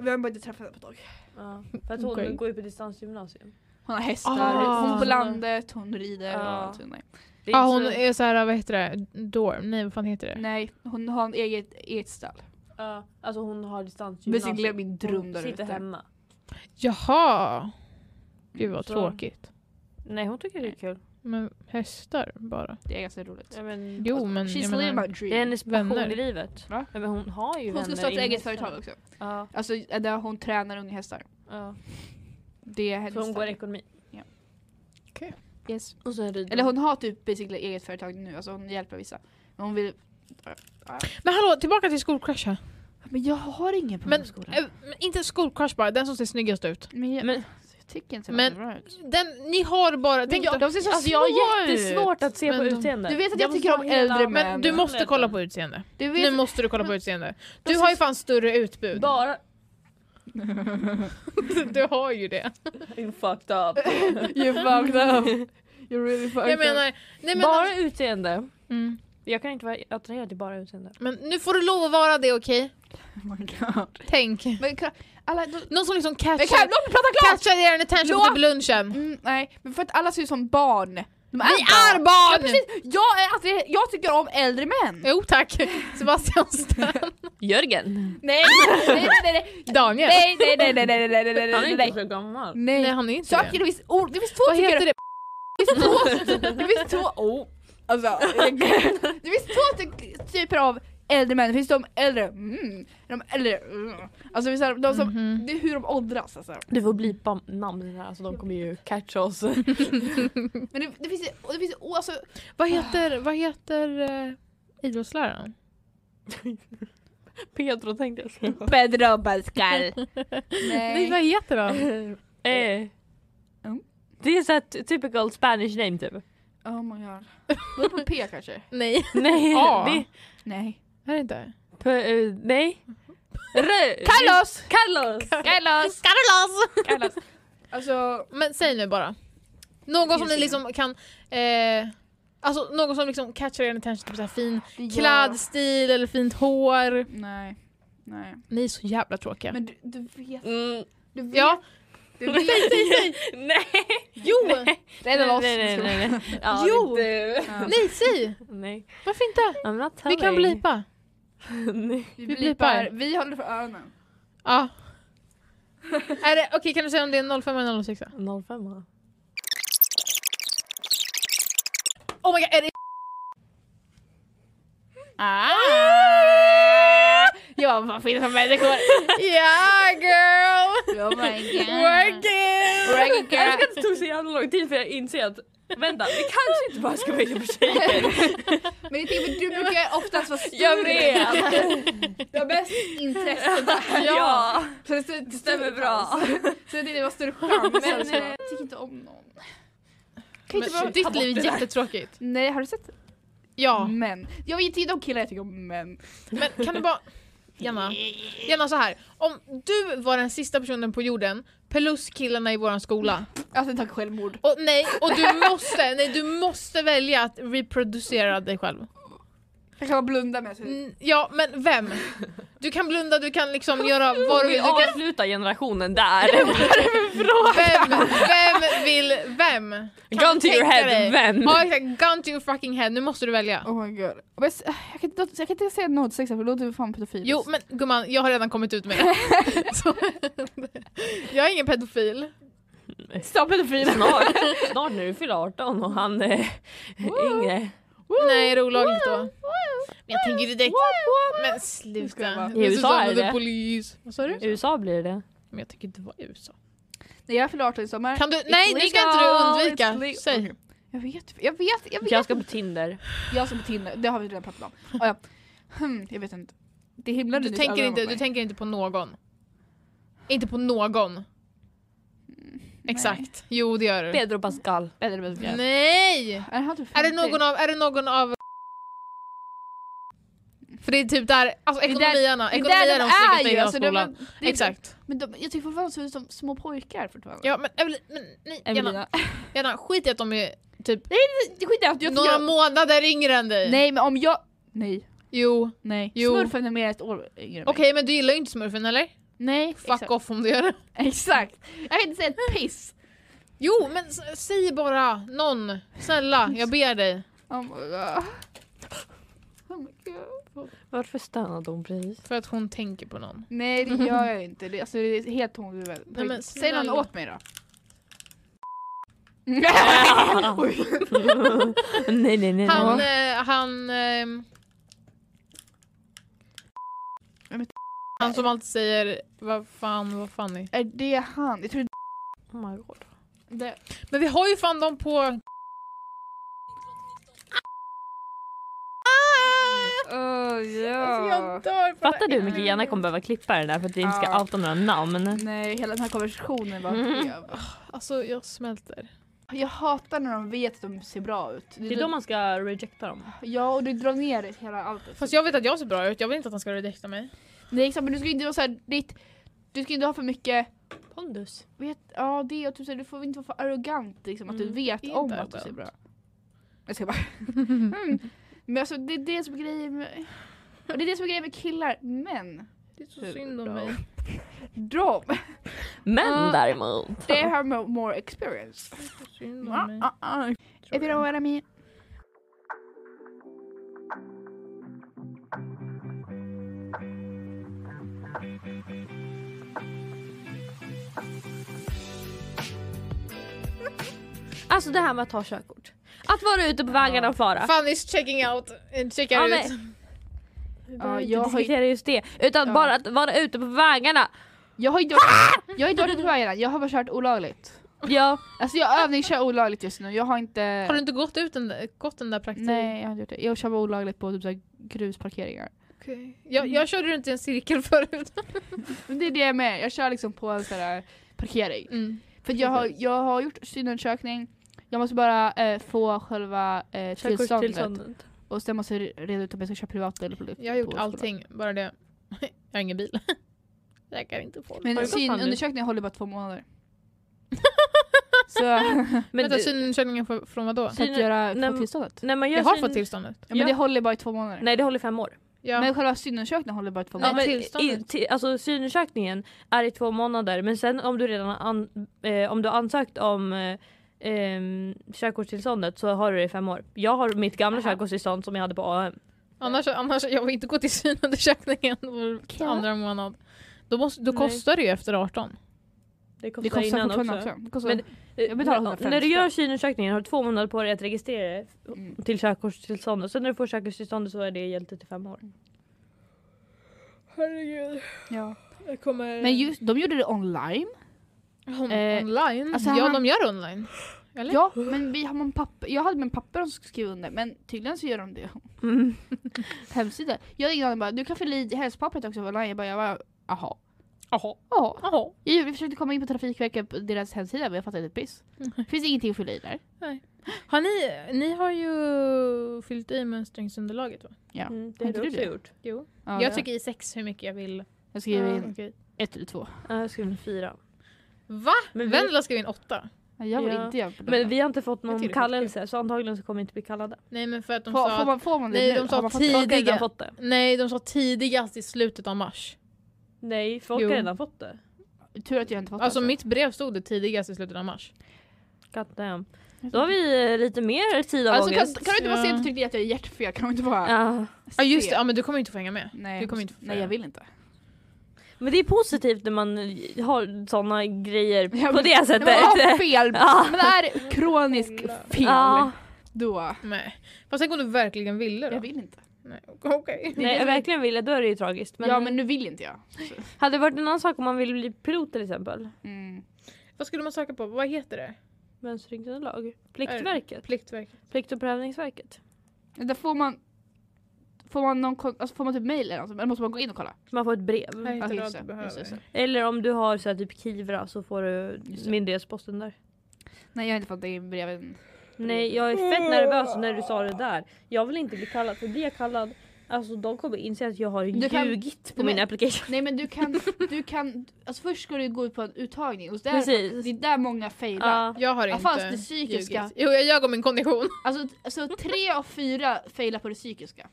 Speaker 3: vi har bara inte träffat henne på ett tag.
Speaker 1: Ja, för att hon
Speaker 2: Okej.
Speaker 1: går ju på distansgymnasium.
Speaker 3: Hon har hästar,
Speaker 2: Ah.
Speaker 3: hon är på landet, hon rider och
Speaker 1: Ja.
Speaker 3: allt. sånt där.
Speaker 1: Det
Speaker 2: Ja,
Speaker 1: inte
Speaker 2: hon
Speaker 1: så-
Speaker 2: är så här, vad heter det? Dorm? Nej, vad fan heter det?
Speaker 3: Nej, hon har en eget, eget stall.
Speaker 1: Ja, alltså hon har
Speaker 3: Men
Speaker 1: distansgymnasium.
Speaker 3: sen glömde min dröm
Speaker 1: Hon
Speaker 3: där
Speaker 1: sitter
Speaker 3: ute.
Speaker 1: hemma.
Speaker 2: Jaha! Gud vad
Speaker 1: Så.
Speaker 2: tråkigt.
Speaker 1: Nej hon tycker det är kul.
Speaker 2: Men hästar bara.
Speaker 3: Det är ganska roligt.
Speaker 1: Ja, men,
Speaker 2: Jo men
Speaker 3: Alltså, She's
Speaker 2: jag
Speaker 3: living
Speaker 2: menar,
Speaker 3: my
Speaker 1: det är
Speaker 3: dream.
Speaker 1: hennes passion
Speaker 2: Vänner.
Speaker 1: i livet.
Speaker 3: Va?
Speaker 1: Ja, men hon har ju
Speaker 3: Hon
Speaker 1: vänner
Speaker 3: ska starta
Speaker 1: inom
Speaker 3: eget
Speaker 1: hästar.
Speaker 3: företag också.
Speaker 1: Ja,
Speaker 3: Alltså där hon tränar unga hästar.
Speaker 1: ja.
Speaker 3: Det är hennes
Speaker 1: Så hon går
Speaker 3: tanke.
Speaker 1: ekonomi.
Speaker 3: yes.
Speaker 1: Och sen rider
Speaker 3: Eller hon har typ basically eget företag nu, alltså hon hjälper vissa. Men hon vill...
Speaker 2: Men hallå, tillbaka till skolcrush här.
Speaker 3: Men jag har ingen på
Speaker 2: Men,
Speaker 3: min skola.
Speaker 2: eh, men inte skolcrush bara, den som ser snyggast ut.
Speaker 3: Men jag,
Speaker 1: Men-
Speaker 3: jag tycker inte
Speaker 2: Men-
Speaker 3: det var bra ut.
Speaker 2: Den, ni har bara... Tänk
Speaker 3: jag-
Speaker 2: dig-
Speaker 3: de ser så
Speaker 1: Alltså jag har
Speaker 3: små ut.
Speaker 1: jättesvårt att se
Speaker 2: Men
Speaker 1: på
Speaker 2: de-
Speaker 1: utseende.
Speaker 3: Du vet att
Speaker 1: Jag
Speaker 3: jag
Speaker 1: måste
Speaker 3: tycker om
Speaker 1: ha hela-
Speaker 3: äldre män.
Speaker 2: men du måste kolla på utseende.
Speaker 3: Du
Speaker 2: Nu
Speaker 3: vet...
Speaker 2: måste du kolla på utseende. Du
Speaker 3: ser
Speaker 2: har ju fan större utbud.
Speaker 1: Bara...
Speaker 2: *laughs* Du har ju
Speaker 3: *laughs*
Speaker 2: det.
Speaker 1: You fucked up.
Speaker 3: You fucked up. You're really fucked
Speaker 2: Jag menar... Nej, men,
Speaker 1: bara utseende.
Speaker 2: mm.
Speaker 1: Jag kan inte vara attraherad till bara utseende.
Speaker 2: men nu får du lov att vara det, okej?
Speaker 3: up. *laughs* Oh my god.
Speaker 2: Tänk.
Speaker 3: Men kan- alla... Då,
Speaker 2: Någon som liksom
Speaker 3: men kan,
Speaker 2: catchar,
Speaker 3: låt mig prata klart!
Speaker 2: catchar er attention på
Speaker 3: Låt-
Speaker 2: typ lunchen.
Speaker 3: Mm, nej, men för att alla ser ut som barn. De
Speaker 2: Vi är barn!
Speaker 3: Ja, precis! Jag, är, alltså, jag tycker om äldre män.
Speaker 2: Jo tack, *laughs* Sebastian Stern.
Speaker 1: Jörgen!
Speaker 3: Nej, nej, nej, nej,
Speaker 2: Daniel.
Speaker 3: nej, nej, nej, nej, nej, nej, nej, nej,
Speaker 1: Han är
Speaker 3: nej,
Speaker 1: inte
Speaker 3: nej,
Speaker 1: så gammal.
Speaker 2: Nej,
Speaker 3: nej.
Speaker 2: han är inte
Speaker 3: Saker,
Speaker 2: det.
Speaker 3: det finns ord, det finns två
Speaker 2: Vad
Speaker 3: tycker
Speaker 2: heter
Speaker 3: det
Speaker 2: det?
Speaker 3: finns två, det finns två, oh, alltså, *laughs* det finns två ty- typer av äldre män, det finns de äldre, mm, de äldre, mm. Alltså det finns de som,
Speaker 2: Mhm.
Speaker 3: det är hur de åldras alltså.
Speaker 1: Du får blipa namnen här, alltså de kommer ju catcha oss. *laughs*
Speaker 3: Men det, det finns, ju- och det finns, ju- alltså,
Speaker 2: Vad heter, vad heter eh, idrottsläraren?
Speaker 1: Pedro tänkte jag säga.
Speaker 3: Pedro Pascal.
Speaker 2: Nej, vad heter han?
Speaker 1: Eh.
Speaker 3: Mm.
Speaker 1: Det är såhär t- typical Spanish name typ.
Speaker 3: Oh my god. *laughs* Var det på P kanske?
Speaker 2: *laughs* Nej.
Speaker 1: Nej.
Speaker 2: *laughs* Ja.
Speaker 1: Det,
Speaker 3: Nej.
Speaker 2: Är det inte?
Speaker 1: p- eh, nej. Rö-
Speaker 3: Carlos!
Speaker 1: Carlos!
Speaker 2: *laughs*
Speaker 3: Carlos!
Speaker 2: Carlos!
Speaker 3: Carlos! Alltså,
Speaker 2: Men säg nu bara. Någon som
Speaker 3: Finns
Speaker 2: ni
Speaker 3: ingen.
Speaker 2: liksom kan... Eh, alltså någon som liksom catchar er attention, typ såhär fin
Speaker 3: det gör-
Speaker 2: klädstil eller fint hår.
Speaker 3: Nej. Nej.
Speaker 2: Ni är så jävla tråkiga.
Speaker 3: Men du, du vet.
Speaker 1: Mm.
Speaker 3: Du vet.
Speaker 2: ja,
Speaker 3: Du *laughs* vet.
Speaker 1: nej!
Speaker 2: jo! Nej,
Speaker 3: Det är en av oss.
Speaker 1: Nej, nej, nej, nej. Ja,
Speaker 2: Jo.
Speaker 1: det är du.
Speaker 3: Ja.
Speaker 2: säg!
Speaker 1: Nej.
Speaker 2: Varför inte?
Speaker 1: I'm not
Speaker 2: Vi
Speaker 1: telling.
Speaker 2: kan blipa.
Speaker 1: Nej.
Speaker 3: Vi
Speaker 2: Vi
Speaker 3: blipar.
Speaker 2: blipar.
Speaker 3: Vi håller för öronen.
Speaker 2: Ja. är det, okej, kan du säga om det är 05 eller 06?
Speaker 1: 05
Speaker 2: Oh my god, är det
Speaker 3: Ah. *laughs* Ja, vad finns det för människor?
Speaker 2: *laughs* Yeah girl!
Speaker 3: Oh *laughs* my god.
Speaker 2: Work it!
Speaker 3: Working
Speaker 1: Jag
Speaker 3: girl.
Speaker 1: älskar att det tog så jävla lång tid för jag inser att vänta, vi kanske inte bara ska vara inne på tjejer.
Speaker 3: *laughs* Men det är typ, du brukar oftast vara stor.
Speaker 1: Jag vet!
Speaker 3: Du har bäst intresse där.
Speaker 1: *laughs* Ja!
Speaker 3: Så det, det alltså.
Speaker 1: Stämmer bra.
Speaker 3: Så det var större chans.
Speaker 1: Men,
Speaker 3: alltså.
Speaker 1: eh,
Speaker 3: jag tycker inte om någon. Kan inte
Speaker 2: Men,
Speaker 3: bara...
Speaker 2: ditt liv är jättetråkigt.
Speaker 3: Nej, har du sett
Speaker 2: Ja,
Speaker 3: män? Jag vet inte om killar jag tycker om män.
Speaker 2: men kan du bara... Jenna, Jenna så här. om du var den sista personen på jorden plus killarna i våran skola
Speaker 3: Alltså tack självmord.
Speaker 2: och nej, och du måste, nej du måste välja att reproducera dig själv.
Speaker 3: Jag kan bara blunda med sig.
Speaker 2: Mm, Ja, men vem? Du kan blunda, du kan liksom göra vad du
Speaker 1: Vill
Speaker 2: vill. Du kan,
Speaker 1: avsluta generationen där?
Speaker 2: vem, vem vill, vem? Kan
Speaker 1: Gun
Speaker 2: du
Speaker 1: to your
Speaker 2: tänka
Speaker 1: head,
Speaker 2: dig?
Speaker 1: vem?
Speaker 2: Ja exakt, gun to your fucking head, nu måste du välja.
Speaker 3: Oh my god. Men s- Jag kan inte, jag kan inte säga något sex för då låter vi fan pedofil.
Speaker 2: Jo men gumman, jag har redan kommit ut med det.
Speaker 1: *laughs*
Speaker 2: Så- Jag är ingen pedofil.
Speaker 1: Stopp pedofil! Snart, snart när du fyller 18 och han är yngre.
Speaker 2: Nej, är det olagligt då? Men jag tänker direkt... Men
Speaker 3: ska jag
Speaker 2: sluta.
Speaker 3: bara-
Speaker 2: Det är
Speaker 1: I USA
Speaker 2: Susanna
Speaker 1: är
Speaker 2: the
Speaker 1: det.
Speaker 2: Police. Vad sa du?
Speaker 1: I USA blir det
Speaker 2: Men jag tänker inte vara i USA.
Speaker 3: När jag fyller 18 i sommar.
Speaker 2: Kan du... Nej, det kan inte du
Speaker 3: legal, it's
Speaker 2: undvika.
Speaker 3: legal.
Speaker 2: Säg.
Speaker 3: Jag vet, jag vet, jag vet.
Speaker 1: Jag ska på Tinder.
Speaker 3: Jag som på Tinder, det har vi redan pratat om. Ah, ja. hmm, jag vet inte. Det himlade
Speaker 2: Du
Speaker 3: nyss
Speaker 2: tänker,
Speaker 3: ögonen
Speaker 2: inte,
Speaker 3: mot
Speaker 2: du
Speaker 3: mig.
Speaker 2: tänker inte på någon. Inte på någon. Exakt. Jo, det gör du.
Speaker 1: Pedro Pascal.
Speaker 3: Mm, Eller vad det är.
Speaker 2: Nej!
Speaker 3: Är det här typ
Speaker 2: Är det
Speaker 3: 50?
Speaker 2: någon av... Är det någon av... För det är typ där... Alltså
Speaker 3: är där-
Speaker 2: ekonomierna.
Speaker 3: Det där
Speaker 2: Ekonomi är de snyggaste i hela
Speaker 3: alltså, de-
Speaker 2: skolan.
Speaker 3: det-
Speaker 2: Exakt.
Speaker 3: Men de, jag tycker fortfarande de ser ut som små pojkar fortfarande.
Speaker 2: Ja, men Evelina... Men, nej, Jenna,
Speaker 3: Evelina.
Speaker 2: Jenna, skit i att de är typ
Speaker 3: *laughs* Det skiter jag i, jag
Speaker 2: några
Speaker 3: tycker-
Speaker 2: månader yngre än dig.
Speaker 3: Nej men om jag... Nej.
Speaker 2: Jo.
Speaker 3: Nej.
Speaker 2: Jo.
Speaker 3: Smurfen är mer ett år yngre än mig.
Speaker 2: Okej, men du gillar ju inte smurfen eller?
Speaker 3: Nej.
Speaker 2: Fuck
Speaker 3: exakt.
Speaker 2: off om du gör det.
Speaker 3: *laughs* Exakt. Jag kan inte säga ett piss.
Speaker 2: Jo, men s- säg bara någon. Snälla, jag ber dig.
Speaker 3: Oh my god. Oh my god.
Speaker 1: Varför stönade hon precis?
Speaker 2: För att hon tänker på någon.
Speaker 3: Nej det gör jag inte. Det, alltså, det är helt tom i huvudet.
Speaker 2: Nej, men
Speaker 3: Säg någon
Speaker 2: snälla.
Speaker 3: åt
Speaker 1: *laughs*
Speaker 3: mig då. Oj.
Speaker 1: *laughs* nej, nej, nej. nej.
Speaker 2: Han, eh, han... ehm,
Speaker 3: Ja, men-
Speaker 2: han som alltid säger vad fan, vad fan är.
Speaker 3: Är det han? Jag tror
Speaker 1: Oh my god.
Speaker 3: det...
Speaker 2: Men vi har ju fan dem på... Ah!
Speaker 3: Oh, ja.
Speaker 2: Alltså jag dör på
Speaker 1: Fattar
Speaker 2: det.
Speaker 1: du hur mycket Jenna kommer behöva klippa det där för att vi inte ska
Speaker 3: Ja.
Speaker 1: outa några namn?
Speaker 3: Mm. Nej, hela den här konversationen var
Speaker 1: Mm.
Speaker 3: skev.
Speaker 2: Alltså jag smälter.
Speaker 3: Jag hatar när de vet att de ser bra ut.
Speaker 1: Det är då man ska rejecta dem.
Speaker 3: Ja, och du drar ner det hela allt.
Speaker 2: Fast jag vet att jag ser bra ut, jag vill inte att han ska redekta mig.
Speaker 3: Nej, exakt, men du ska ju inte vara såhär, ditt... Du ska ju inte ha för mycket,
Speaker 1: Pondus.
Speaker 3: vet, ja det och typ såhär, du får inte vara för arrogant liksom att du
Speaker 2: Mm,
Speaker 3: vet
Speaker 2: det är
Speaker 3: om
Speaker 2: inte
Speaker 3: att du ser bra
Speaker 2: arrogant.
Speaker 3: Jag ska bara... mm. Men alltså det är det som är grejen med... Och det är det som är grejen med killar, men
Speaker 2: Det är så
Speaker 3: Hur
Speaker 2: synd om
Speaker 3: bra?
Speaker 2: mig.
Speaker 3: de,
Speaker 1: Men
Speaker 3: Ja.
Speaker 1: däremot.
Speaker 3: they have mo- more experience.
Speaker 2: Synd om mig.
Speaker 3: Mm. Uh, uh, uh. If you know what I mean.
Speaker 1: Alltså det här med att ta körkort. Att vara ute på vägarna och fara.
Speaker 2: Fanny's checking out, eh, checkar
Speaker 1: Ja,
Speaker 2: ut.
Speaker 1: Vi
Speaker 3: Ja,
Speaker 1: behöver inte
Speaker 3: jag har ju-
Speaker 1: diskutera just det. Utan
Speaker 3: Ja.
Speaker 1: bara att vara ute på vägarna.
Speaker 3: Jag har inte varit, jag har inte varit ute på vägarna, jag har bara kört olagligt.
Speaker 1: Ja.
Speaker 3: Alltså jag övningskör olagligt just nu, jag har inte...
Speaker 2: Har du inte gått ut den där, gått den där praktiken?
Speaker 3: Nej jag har inte gjort det. Jag kör bara olagligt på typ så här grusparkeringar.
Speaker 2: Okej.
Speaker 3: Mm.
Speaker 2: Jag, jag körde runt i en cirkel *laughs* förut.
Speaker 3: Men det är det jag med, jag kör liksom på en sån här parkering. För jag har, jag har gjort synundersökning, jag måste bara eh, få själva eh, tillståndet.
Speaker 1: Körkortstillståndet.
Speaker 3: Och sen måste jag re- reda ut om jag ska köra privat eller på
Speaker 2: Jag har gjort
Speaker 3: på skolan.
Speaker 2: allting, bara det. Jag har ingen bil. *laughs* Jag kan inte få
Speaker 1: Har
Speaker 3: *laughs* Men
Speaker 1: du gått fan nu?
Speaker 3: synundersökningen håller bara två månader.
Speaker 1: *laughs*
Speaker 3: så
Speaker 1: Men
Speaker 2: Vänta,
Speaker 1: du-
Speaker 2: synundersökningen för- från vadå?
Speaker 3: för *laughs* att göra,
Speaker 1: Nej,
Speaker 3: få tillståndet.
Speaker 1: när man gör
Speaker 2: Jag har
Speaker 1: sin-
Speaker 2: fått tillståndet.
Speaker 3: Ja, men
Speaker 1: ja.
Speaker 3: det håller bara i två månader.
Speaker 1: Nej det håller i fem år.
Speaker 2: Ja.
Speaker 3: Men själva synundersökningen håller bara i två
Speaker 1: Ja,
Speaker 3: månader.
Speaker 1: men, i,
Speaker 2: tillståndet.
Speaker 1: till, alltså synundersökningen är i två månader men sen om du redan har an, eh, om du har ansökt om eh, eh, körkortstillståndet så har du det i fem år. Jag har mitt gamla körkortstillstånd som jag hade på AM.
Speaker 2: annars, annars, jag vill inte gå till synundersökningen var andra månad. Då, måste, då
Speaker 1: Nej.
Speaker 2: kostar det ju efter 18.
Speaker 1: kostar,
Speaker 3: det kostar
Speaker 1: innan
Speaker 3: fortfarande också. Det kostar,
Speaker 1: Men-
Speaker 3: Jag betalar
Speaker 1: När-
Speaker 3: 150
Speaker 1: När du gör synundersökningen har du två månader på dig att registrera dig
Speaker 3: Mm.
Speaker 1: till körkortstillståndet. Sen när du får körkortstillståndet så är det giltigt i fem år.
Speaker 2: Herregud.
Speaker 3: ja.
Speaker 2: Jag
Speaker 1: Eh.
Speaker 2: kommer...
Speaker 3: Men just, de gjorde det online.
Speaker 2: On,
Speaker 3: eh,
Speaker 2: online?
Speaker 3: alltså
Speaker 2: ja,
Speaker 3: han-
Speaker 2: de gör online. Eller?
Speaker 3: Ja, men vi har man papper, jag hade med en papper de skulle skriva under men tydligen så gör de det.
Speaker 1: Mm.
Speaker 3: *laughs* Hemsida. Jag ringde honom och bara du kan fylla i hälsopappret också online. Jag bara, jag bara jaha.
Speaker 2: Jaha.
Speaker 3: Jaha.
Speaker 2: Jaha.
Speaker 3: Jag, gjorde- vi försökte komma in på Trafikverket på deras hemsida men jag fattade inte ett piss.
Speaker 2: Nej.
Speaker 3: Finns ingenting att fylla i där.
Speaker 2: Nej. Har ni, ni har ju fyllt i mönstringsunderlaget va?
Speaker 3: Ja.
Speaker 1: Mm, det
Speaker 3: Har
Speaker 1: har
Speaker 3: inte
Speaker 1: du
Speaker 3: du
Speaker 1: också
Speaker 3: det?
Speaker 1: gjort.
Speaker 2: Jo.
Speaker 3: ja
Speaker 2: jag
Speaker 3: det-
Speaker 2: tycker i sex hur mycket jag vill.
Speaker 3: jag skriver
Speaker 2: Mm.
Speaker 3: in
Speaker 2: Okej.
Speaker 3: ett eller två.
Speaker 1: Ja, jag skrev en fyra.
Speaker 2: Va?
Speaker 1: Men vi-
Speaker 2: Vendela skrev in åtta.
Speaker 3: Nej, Jag vill
Speaker 1: Ja.
Speaker 3: inte göra på
Speaker 1: Men vi har inte fått någon
Speaker 2: tycker det är
Speaker 1: kallelse så antagligen så kommer vi inte bli kallade.
Speaker 2: Nej men för att de
Speaker 3: får,
Speaker 2: sa...
Speaker 3: får, man, får man det
Speaker 2: Nej,
Speaker 3: nu?
Speaker 2: de sa
Speaker 3: Har man fått-
Speaker 2: tio.
Speaker 1: Folk har
Speaker 2: Tidiga.
Speaker 1: redan fått det.
Speaker 2: Nej de sa tidigast i slutet av mars.
Speaker 1: Nej, folk
Speaker 2: Jo.
Speaker 1: har redan fått det.
Speaker 3: Tur att jag inte fått
Speaker 2: Alltså mitt brev stod det tidigast i slutet av mars.
Speaker 1: God damn. Då har vi eh, lite mer tid av
Speaker 3: Alltså, kan,
Speaker 1: ångest.
Speaker 3: kan du inte bara säga
Speaker 2: Ja.
Speaker 3: att du tyckte att jag är hjärtfel? Kan du inte bara
Speaker 1: Ja.
Speaker 2: Ja just
Speaker 3: se?
Speaker 2: det, ja, men du kommer inte få hänga med.
Speaker 3: Nej,
Speaker 2: Du kommer inte få
Speaker 3: nej jag vill inte.
Speaker 1: Men det är positivt när man har sådana grejer
Speaker 3: Ja,
Speaker 1: på
Speaker 3: men-
Speaker 1: det
Speaker 3: När man
Speaker 1: *laughs*
Speaker 3: har
Speaker 1: sättet.
Speaker 3: fel,
Speaker 1: Ja.
Speaker 3: men det är kronisk fel,
Speaker 1: Ja.
Speaker 3: då...
Speaker 2: Nej. Fast tänk om du verkligen ville då?
Speaker 3: Jag vill inte.
Speaker 2: Nej, *laughs* okej.
Speaker 1: Nej, jag verkligen ville, då är det ju tragiskt. Men,
Speaker 3: ja men nu vill inte jag. Så-
Speaker 1: hade det varit en annan sak om man ville bli pilot till exempel?
Speaker 3: Mm.
Speaker 2: *laughs* Vad skulle man söka på? Vad heter det?
Speaker 1: Mönstringsunderlag?
Speaker 3: Äh,
Speaker 1: Pliktverket?
Speaker 2: Pliktverket.
Speaker 1: Plikt och prövningsverket?
Speaker 3: Där får man... Får man, någon, kon- alltså får man typ mail eller något? Eller måste man gå in och kolla?
Speaker 1: Man får ett brev.
Speaker 2: Vad heter
Speaker 3: Okej,
Speaker 2: det
Speaker 3: just
Speaker 2: du
Speaker 3: det,
Speaker 2: behöver?
Speaker 3: just det, just det.
Speaker 1: Eller om du har så här, typ Kivra så får du
Speaker 3: Just det.
Speaker 1: myndighetsposten där.
Speaker 3: Nej jag har inte fått det i breven.
Speaker 1: Nej jag är fett nervös när du sa det där. Jag vill inte bli kallad för blir jag kallad Alltså de kommer inse att jag har
Speaker 3: Du kan-
Speaker 1: ljugit på
Speaker 3: Nej, men-
Speaker 1: min application.
Speaker 3: Nej men
Speaker 1: *laughs*
Speaker 3: du kan, du kan, alltså först ska du gå ut på en uttagning och där,
Speaker 1: Precis.
Speaker 3: det är där många failar.
Speaker 1: Ja.
Speaker 2: Jag har
Speaker 3: Ja,
Speaker 2: inte
Speaker 3: fast det psykiska.
Speaker 2: ljugit. Jo, jag ljög om min kondition.
Speaker 3: Alltså, alltså tre av fyra failar på det psykiska.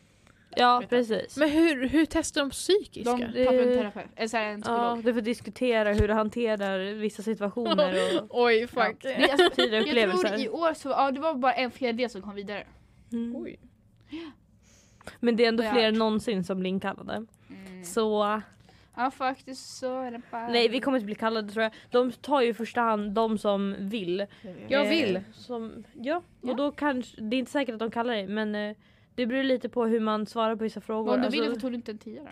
Speaker 1: ja precis.
Speaker 2: *laughs* Men hur, hur testar de psykiska?
Speaker 3: De tar en terapeut, eller så här, en
Speaker 1: Ja,
Speaker 3: psykolog.
Speaker 1: du får diskutera hur du hanterar vissa situationer och
Speaker 2: Oj,
Speaker 3: Ja.
Speaker 2: fuck.
Speaker 1: *laughs*
Speaker 3: Men alltså,
Speaker 1: tidigare
Speaker 3: jag tror i
Speaker 1: upplevelser.
Speaker 3: år så, ja det var bara en fjärdedel som kom vidare.
Speaker 1: Mm.
Speaker 2: Oj.
Speaker 1: Men det är ändå
Speaker 3: Ja.
Speaker 1: fler än någonsin som blir inkallade. Så
Speaker 3: Mm. Ja faktiskt så är det bara...
Speaker 1: nej vi kommer inte bli kallade tror jag. De tar ju i första hand de som vill.
Speaker 2: Jag
Speaker 1: Eh,
Speaker 2: vill.
Speaker 1: Som, ja,
Speaker 3: Ja.
Speaker 1: och då kanske, det är inte säkert att de kallar dig men eh, det beror lite på hur man svarar på vissa
Speaker 3: Men
Speaker 1: frågor.
Speaker 3: Om du ville
Speaker 1: Alltså,
Speaker 3: så tog du inte en tia då?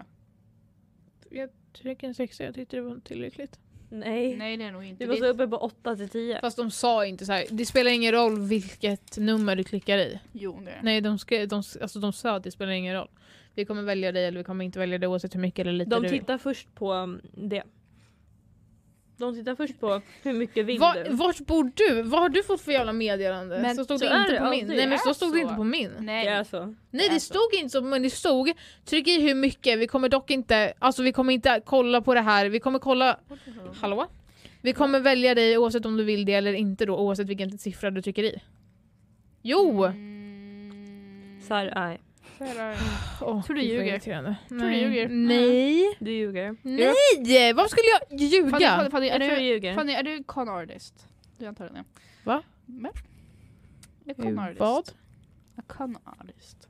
Speaker 2: Jag tycker en sexa, jag tyckte det var tillräckligt.
Speaker 1: nej.
Speaker 3: Nej det är nog inte
Speaker 1: Du var så
Speaker 3: det.
Speaker 1: uppe på 8 till 10.
Speaker 2: Fast de sa inte så här. det spelar ingen roll vilket nummer du klickar i.
Speaker 3: Jo det är det.
Speaker 2: Nej, de, skrev, de, alltså, de sa att det spelar ingen roll. Vi kommer välja dig eller vi kommer inte välja dig oavsett hur mycket eller lite
Speaker 1: De
Speaker 2: du vill.
Speaker 1: tittar först på um, det. De tittar först på hur mycket vill
Speaker 2: Va,
Speaker 1: du?
Speaker 2: vart bor du? Vad har du fått för jävla meddelande?
Speaker 3: Men
Speaker 2: så stod
Speaker 1: så
Speaker 2: det
Speaker 1: är
Speaker 2: inte
Speaker 1: det
Speaker 2: på min.
Speaker 1: alltid.
Speaker 2: Nej men
Speaker 3: Det
Speaker 2: så
Speaker 3: är
Speaker 2: stod
Speaker 3: så.
Speaker 2: det inte på min.
Speaker 1: Det
Speaker 3: Nej.
Speaker 1: är alltså- så.
Speaker 2: Nej
Speaker 3: Det är
Speaker 2: det
Speaker 3: så.
Speaker 2: stod inte så men det stod tryck i hur mycket, vi kommer dock inte, alltså vi kommer inte kolla på det här, vi kommer kolla, hallå? Vi kommer välja dig oavsett om du vill det eller inte då, oavsett vilken siffra du trycker i. Jo!
Speaker 1: Så här, nej.
Speaker 2: Åh,
Speaker 3: Tror du
Speaker 2: gud, vad
Speaker 3: ljuger.
Speaker 2: irriterande.
Speaker 3: du
Speaker 2: Nej.
Speaker 3: ljuger.
Speaker 2: Nej!
Speaker 1: Du ljuger.
Speaker 2: Mm. Nej! Varför skulle jag
Speaker 3: Fanny,
Speaker 2: ljuga?
Speaker 3: Fanny, Fanny, är
Speaker 1: Jag tror du
Speaker 3: du,
Speaker 1: ljuger.
Speaker 3: Fanny är du con artist? Du är antagligen det.
Speaker 2: Va?
Speaker 3: Men. Jag är con
Speaker 2: Eh,
Speaker 3: artist.
Speaker 2: Vad?
Speaker 3: Jag Con artist.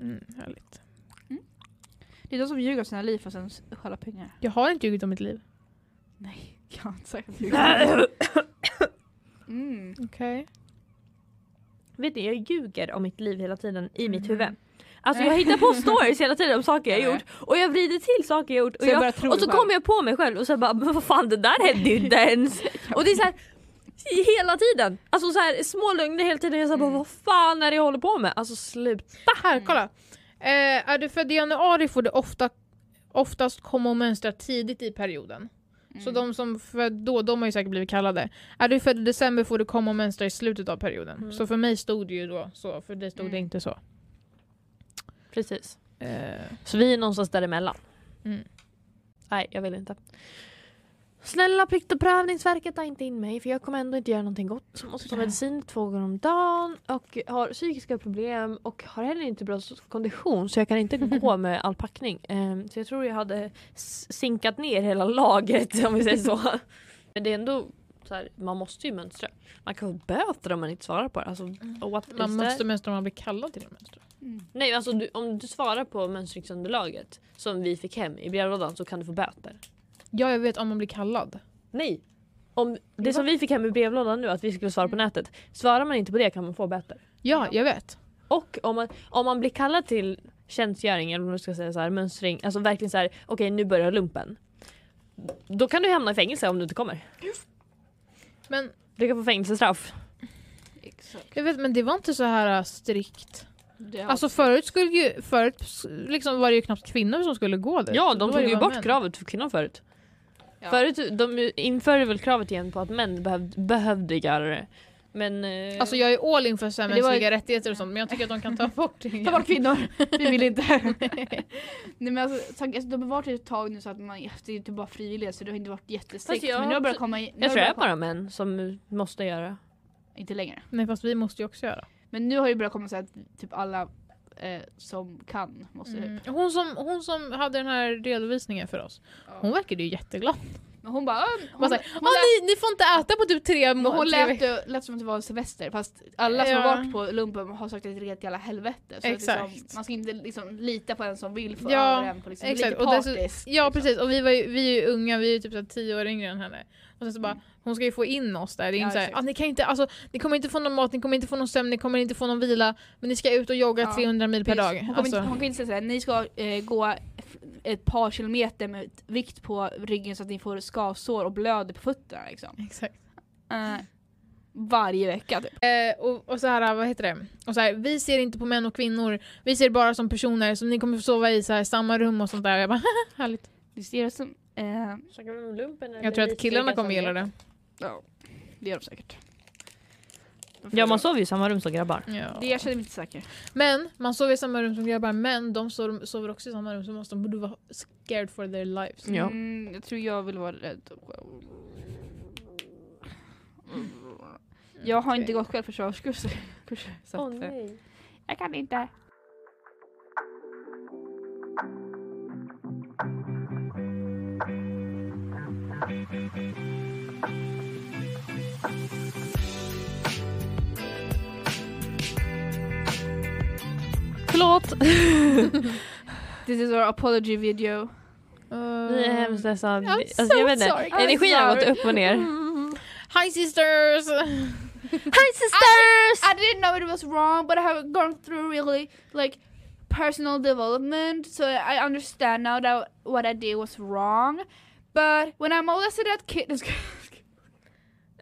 Speaker 2: Mm, härligt.
Speaker 3: Det är de som ljuger om sina liv för att sen s- stjäla pengar.
Speaker 2: Jag har inte ljugit om mitt liv.
Speaker 3: Nej, jag har inte sagt ljuger. Mm.
Speaker 2: Okej.
Speaker 1: *laughs* Vet ni, jag ljuger om mitt liv hela tiden i mitt huvud. Alltså jag hittar på stories hela tiden om saker jag
Speaker 3: Nej.
Speaker 1: gjort och jag vrider till saker jag gjort och,
Speaker 3: Så jag
Speaker 1: jag,
Speaker 3: börjar tro
Speaker 1: och så
Speaker 3: det själv.
Speaker 1: kommer jag på mig själv och så bara men vad fan det där hände ju inte ens. Och det är så här hela tiden. Alltså så här små lögner hela tiden. Jag så här, bara vad fan är det jag håller på med? Alltså slut.
Speaker 2: Här, kolla. Eh, är du född i januari får du ofta, oftast komma och mönstra tidigt i perioden. Så
Speaker 3: Mm.
Speaker 2: de som född då, de har ju säkert blivit kallade. Är du född i december får du komma och mönstra i slutet av perioden. Så för mig stod det ju då så, för dig stod det inte så.
Speaker 1: Precis.
Speaker 2: Mm. Eh,
Speaker 1: Så vi är någonstans däremellan.
Speaker 2: Mm.
Speaker 1: Nej, jag vill inte. Snälla Plikt och prövningsverket ta inte in mig för jag kommer ändå inte göra någonting gott. Jag måste ta medicin två gånger om dagen och har psykiska problem och har heller inte bra kondition så jag kan inte
Speaker 2: *laughs*
Speaker 1: gå med all packning. Ehm, Så jag tror jag hade s- sinkat ner hela laget om vi säger
Speaker 2: *laughs*
Speaker 1: så. Men det är ändå så här, man måste ju mönstra. Man kan få böter om man inte svarar på det. Alltså, what
Speaker 2: Mm. man
Speaker 1: is that?
Speaker 2: måste mönstra om man blir kallad till att mönstra.
Speaker 1: Nej, alltså du, om du svarar på mönstringsunderlaget som vi fick hem i brevlådan så kan du få böter.
Speaker 2: Ja, jag vet om man blir kallad.
Speaker 1: Nej! Om det som vi fick hem i brevlådan nu, att vi skulle svara på
Speaker 2: Mm.
Speaker 1: nätet. Svarar man inte på det kan man få böter.
Speaker 2: Ja, jag vet.
Speaker 1: Och om man, om man blir kallad till tjänstgöring, eller om du ska säga så här, mönstring, alltså verkligen så här, okej nu börjar lumpen. Då kan du hamna i fängelse om du inte kommer.
Speaker 2: Men,
Speaker 1: Du kan få fängelsestraff.
Speaker 3: Exakt.
Speaker 2: jag vet, men det var inte så här äh, strikt.
Speaker 3: Det har-
Speaker 2: Alltså förut, skulle ju, förut s- liksom var det ju knappt kvinnor som skulle gå dit.
Speaker 1: Ja,
Speaker 2: Då
Speaker 1: de
Speaker 2: var
Speaker 1: tog
Speaker 2: det
Speaker 1: ju
Speaker 2: bara
Speaker 1: bort
Speaker 2: män.
Speaker 1: kravet för kvinnor förut.
Speaker 3: Ja.
Speaker 1: Förut de införde väl kravet igen på att män behövde, behövde göra det. Men... eh,
Speaker 2: Alltså jag är all in för så här
Speaker 3: Men det var
Speaker 2: mänskliga rättigheter och sånt men jag tycker att de kan ta bort det. igen.
Speaker 3: Ta bort kvinnor, vi vill inte. Nej men alltså, så- alltså de har varit ett tag nu så att man, det är ju typ bara frivilliga så det har inte varit jättestrikt.
Speaker 1: Fast jag-
Speaker 3: Men nu har det börjat komma i- nu har
Speaker 1: jag tror det är
Speaker 3: börjat
Speaker 1: bara män som måste göra.
Speaker 3: komma- Inte längre.
Speaker 2: Nej fast vi måste ju också göra.
Speaker 3: Men nu har det börjat komma så att typ alla eh, som kan måste
Speaker 2: Mm. Hon, som, hon som hade den här redovisningen för oss, hon verkade ju jätteglad.
Speaker 3: Men hon bara... "Ah, Hon,
Speaker 2: Hon,
Speaker 3: hon,
Speaker 2: bara,
Speaker 3: lät-
Speaker 2: såhär, "Åh, ni, ni får inte äta på typ tre
Speaker 3: men hon
Speaker 2: tre
Speaker 3: lät,
Speaker 2: veckor."
Speaker 3: det- lät som att det var en semester fast alla som har
Speaker 2: Ja.
Speaker 3: varit på lumpen har sagt att det är ett jävla helvete. Så Att liksom,
Speaker 2: Exakt.
Speaker 3: man ska inte liksom lita på en som vill få
Speaker 2: Ja,
Speaker 3: över en på liksom,
Speaker 2: exakt.
Speaker 3: lite
Speaker 2: Och dessutom-
Speaker 3: partisk.
Speaker 2: Ja
Speaker 3: liksom.
Speaker 2: precis och vi, var ju, vi är ju unga, vi är ju typ såhär tio år yngre än henne. Och sen så bara, hon ska ju få in oss där. Det är
Speaker 3: Mm. Ja,
Speaker 2: inte såhär,
Speaker 3: exakt.
Speaker 2: ah, ni, kan inte, alltså, ni kommer inte få någon mat, ni kommer inte få någon sömn, ni kommer inte få någon vila. Men ni ska ut och jogga
Speaker 3: Ja.
Speaker 2: 300 mil per
Speaker 3: Precis.
Speaker 2: dag.
Speaker 3: Hon, kommer
Speaker 2: Alltså,
Speaker 3: inte, hon kan inte säga såhär, ni ska eh, gå f- ett par kilometer med ett vikt på ryggen så att ni får skavsår och blöder på fötterna liksom.
Speaker 2: Exakt. Mm.
Speaker 3: Eh, varje vecka typ.
Speaker 2: Eh, och, och så här, vad heter det? Och så här, vi ser inte på män och kvinnor, vi ser bara som personer som ni kommer få sova i så här, samma rum och sånt där. Jag bara, *laughs* härligt.
Speaker 3: Det ser ut som, eh,
Speaker 2: Jag tror att killarna kommer gilla det.
Speaker 3: ja, det gör de säkert.
Speaker 1: Ja man sover ju i samma rum som grabbar.
Speaker 2: Ja.
Speaker 3: Det jag känner mig inte säker.
Speaker 2: Men man sover i samma rum som grabbar, men de sover, sover också i samma rum så måste de borde vara scared for their lives.
Speaker 1: Ja.
Speaker 3: Mm, jag tror jag vill vara rädd. Jag har inte gått självförsvarskurser. kurser, så att, eh, jag kan inte.
Speaker 1: Förlåt!
Speaker 3: This is our apology video.
Speaker 2: Eh,
Speaker 1: Vi
Speaker 3: Ehm.
Speaker 1: är hemskt ledsna.
Speaker 2: I'm
Speaker 1: Alltså,
Speaker 2: so
Speaker 1: jag vet inte.
Speaker 2: sorry.
Speaker 1: Energin har gått upp och *laughs* ner.
Speaker 2: Hi sisters!
Speaker 1: Hi sisters!
Speaker 3: I didn't know it was wrong, but I have gone through really like personal development, so I understand now that what I did was wrong. But when I molested that *laughs* kid,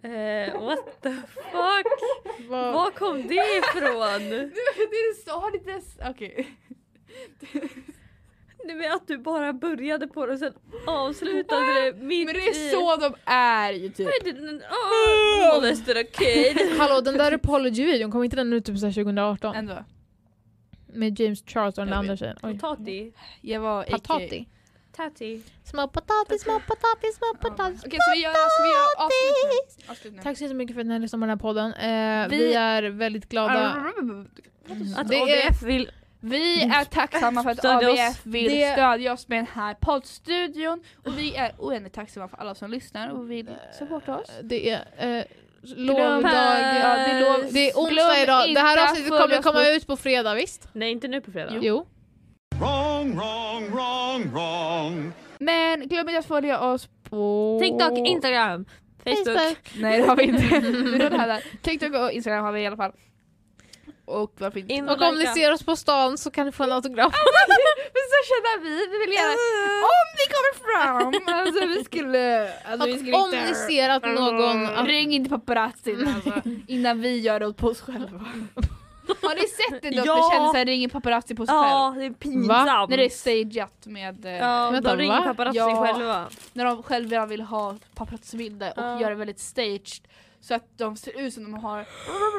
Speaker 1: Eh, what the fuck?
Speaker 2: Vad-
Speaker 1: Var kom det ifrån?
Speaker 3: *laughs* det sa inte ens. Okej.
Speaker 1: Nej men att du bara började på det och sen avslutade det mitt
Speaker 3: Men det är
Speaker 1: i-
Speaker 3: så de är ju typ.
Speaker 1: I didn't- oh, molested a kid.
Speaker 2: Hallå den där Apology-videon, kom inte den ut typ så här 2018?
Speaker 3: Ändå.
Speaker 2: Med James Charles och den
Speaker 3: Jag
Speaker 2: andra
Speaker 3: vet.
Speaker 2: tjejen. Oj.
Speaker 1: Potati.
Speaker 3: Jag var aka-
Speaker 2: Patati.
Speaker 1: Tati.
Speaker 2: Små potatis, små potatis, små
Speaker 3: Ja. Okej,
Speaker 2: potatis.
Speaker 3: ska vi göra, ska vi göra avslut nu? Avslut nu.
Speaker 2: Tack så jättemycket för att ni har lyssnat på den här podden. Eh, vi...
Speaker 3: Vi-
Speaker 2: är väldigt glada.
Speaker 1: Att
Speaker 3: Alltså, Det är-
Speaker 1: ABF vill...
Speaker 3: Vi är tacksamma för att
Speaker 1: Stödja oss.
Speaker 3: ABF vill
Speaker 2: Det-
Speaker 3: stödja oss med den här poddstudion och vi är oändligt tacksamma för alla som lyssnar och vill supporta oss.
Speaker 2: Det är eh,
Speaker 3: Glöm-
Speaker 2: lovdag.
Speaker 3: Ja, det är lov-
Speaker 2: Det är
Speaker 3: Glöm
Speaker 2: onsdag idag. Det
Speaker 3: inte
Speaker 2: här avsnittet
Speaker 3: följa
Speaker 2: kommer
Speaker 3: oss
Speaker 2: komma
Speaker 3: på-
Speaker 2: ut på fredag, visst?
Speaker 1: Nej inte nu på fredag.
Speaker 2: Jo.
Speaker 7: Wrong, wrong, wrong, wrong.
Speaker 3: Men glöm inte att följa oss på...
Speaker 1: TikTok, Instagram, Facebook.
Speaker 3: Nej det har vi inte. *laughs* Vi rullar här där. TikTok och Instagram har vi i alla fall. Och varför inte?
Speaker 1: In-
Speaker 2: Och om ni ser oss på stan så kan ni få en autograf.
Speaker 3: *laughs* Men så känner vi, vi vill göra om vi kommer fram! Alltså vi skulle... Alltså, vi skulle
Speaker 2: Och om ni ser att någon... Att,
Speaker 3: Ring inte paparazzin alltså, innan vi gör det åt oss själva. *laughs* Har ni sett det då?
Speaker 1: Ja.
Speaker 3: Det känns som ringer paparazzi på sig själv.
Speaker 1: Ja det är
Speaker 2: Va?
Speaker 1: pinsamt.
Speaker 3: När det är stageat med... eh,
Speaker 1: Ja,
Speaker 2: Vänta,
Speaker 1: de ringer
Speaker 2: va?
Speaker 1: paparazzi
Speaker 3: Ja.
Speaker 1: själva.
Speaker 3: När de själva vill ha paparazzibilder och
Speaker 1: Ja.
Speaker 3: gör det väldigt staged. Så att de ser ut som de har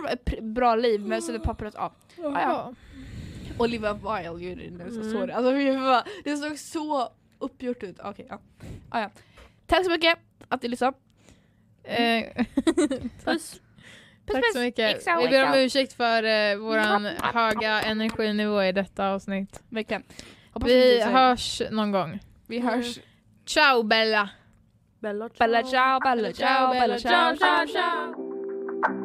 Speaker 3: ett pr- bra liv men så är det paparazzi... Ja. Ah, ja. Olivia Wilde gjorde det nu så
Speaker 1: Mm.
Speaker 3: såg det. Alltså fy fan, det såg så uppgjort ut. Okej, ja. Ah, ja. Tack så mycket att ni lyssnade.
Speaker 2: Eh,
Speaker 1: Puss.
Speaker 2: tack så mycket.
Speaker 3: XOXO.
Speaker 2: Vi ber om ursägt för eh, våran höga energinivå i detta avsnitt.
Speaker 3: Verkligen. Hoppas att
Speaker 2: Vi
Speaker 3: ni-
Speaker 2: hörs någon gång.
Speaker 3: vi hörs.
Speaker 2: Ciao Bella!
Speaker 1: Bella ciao.
Speaker 3: Bella ciao, bella ciao, bella ciao, ciao, ciao.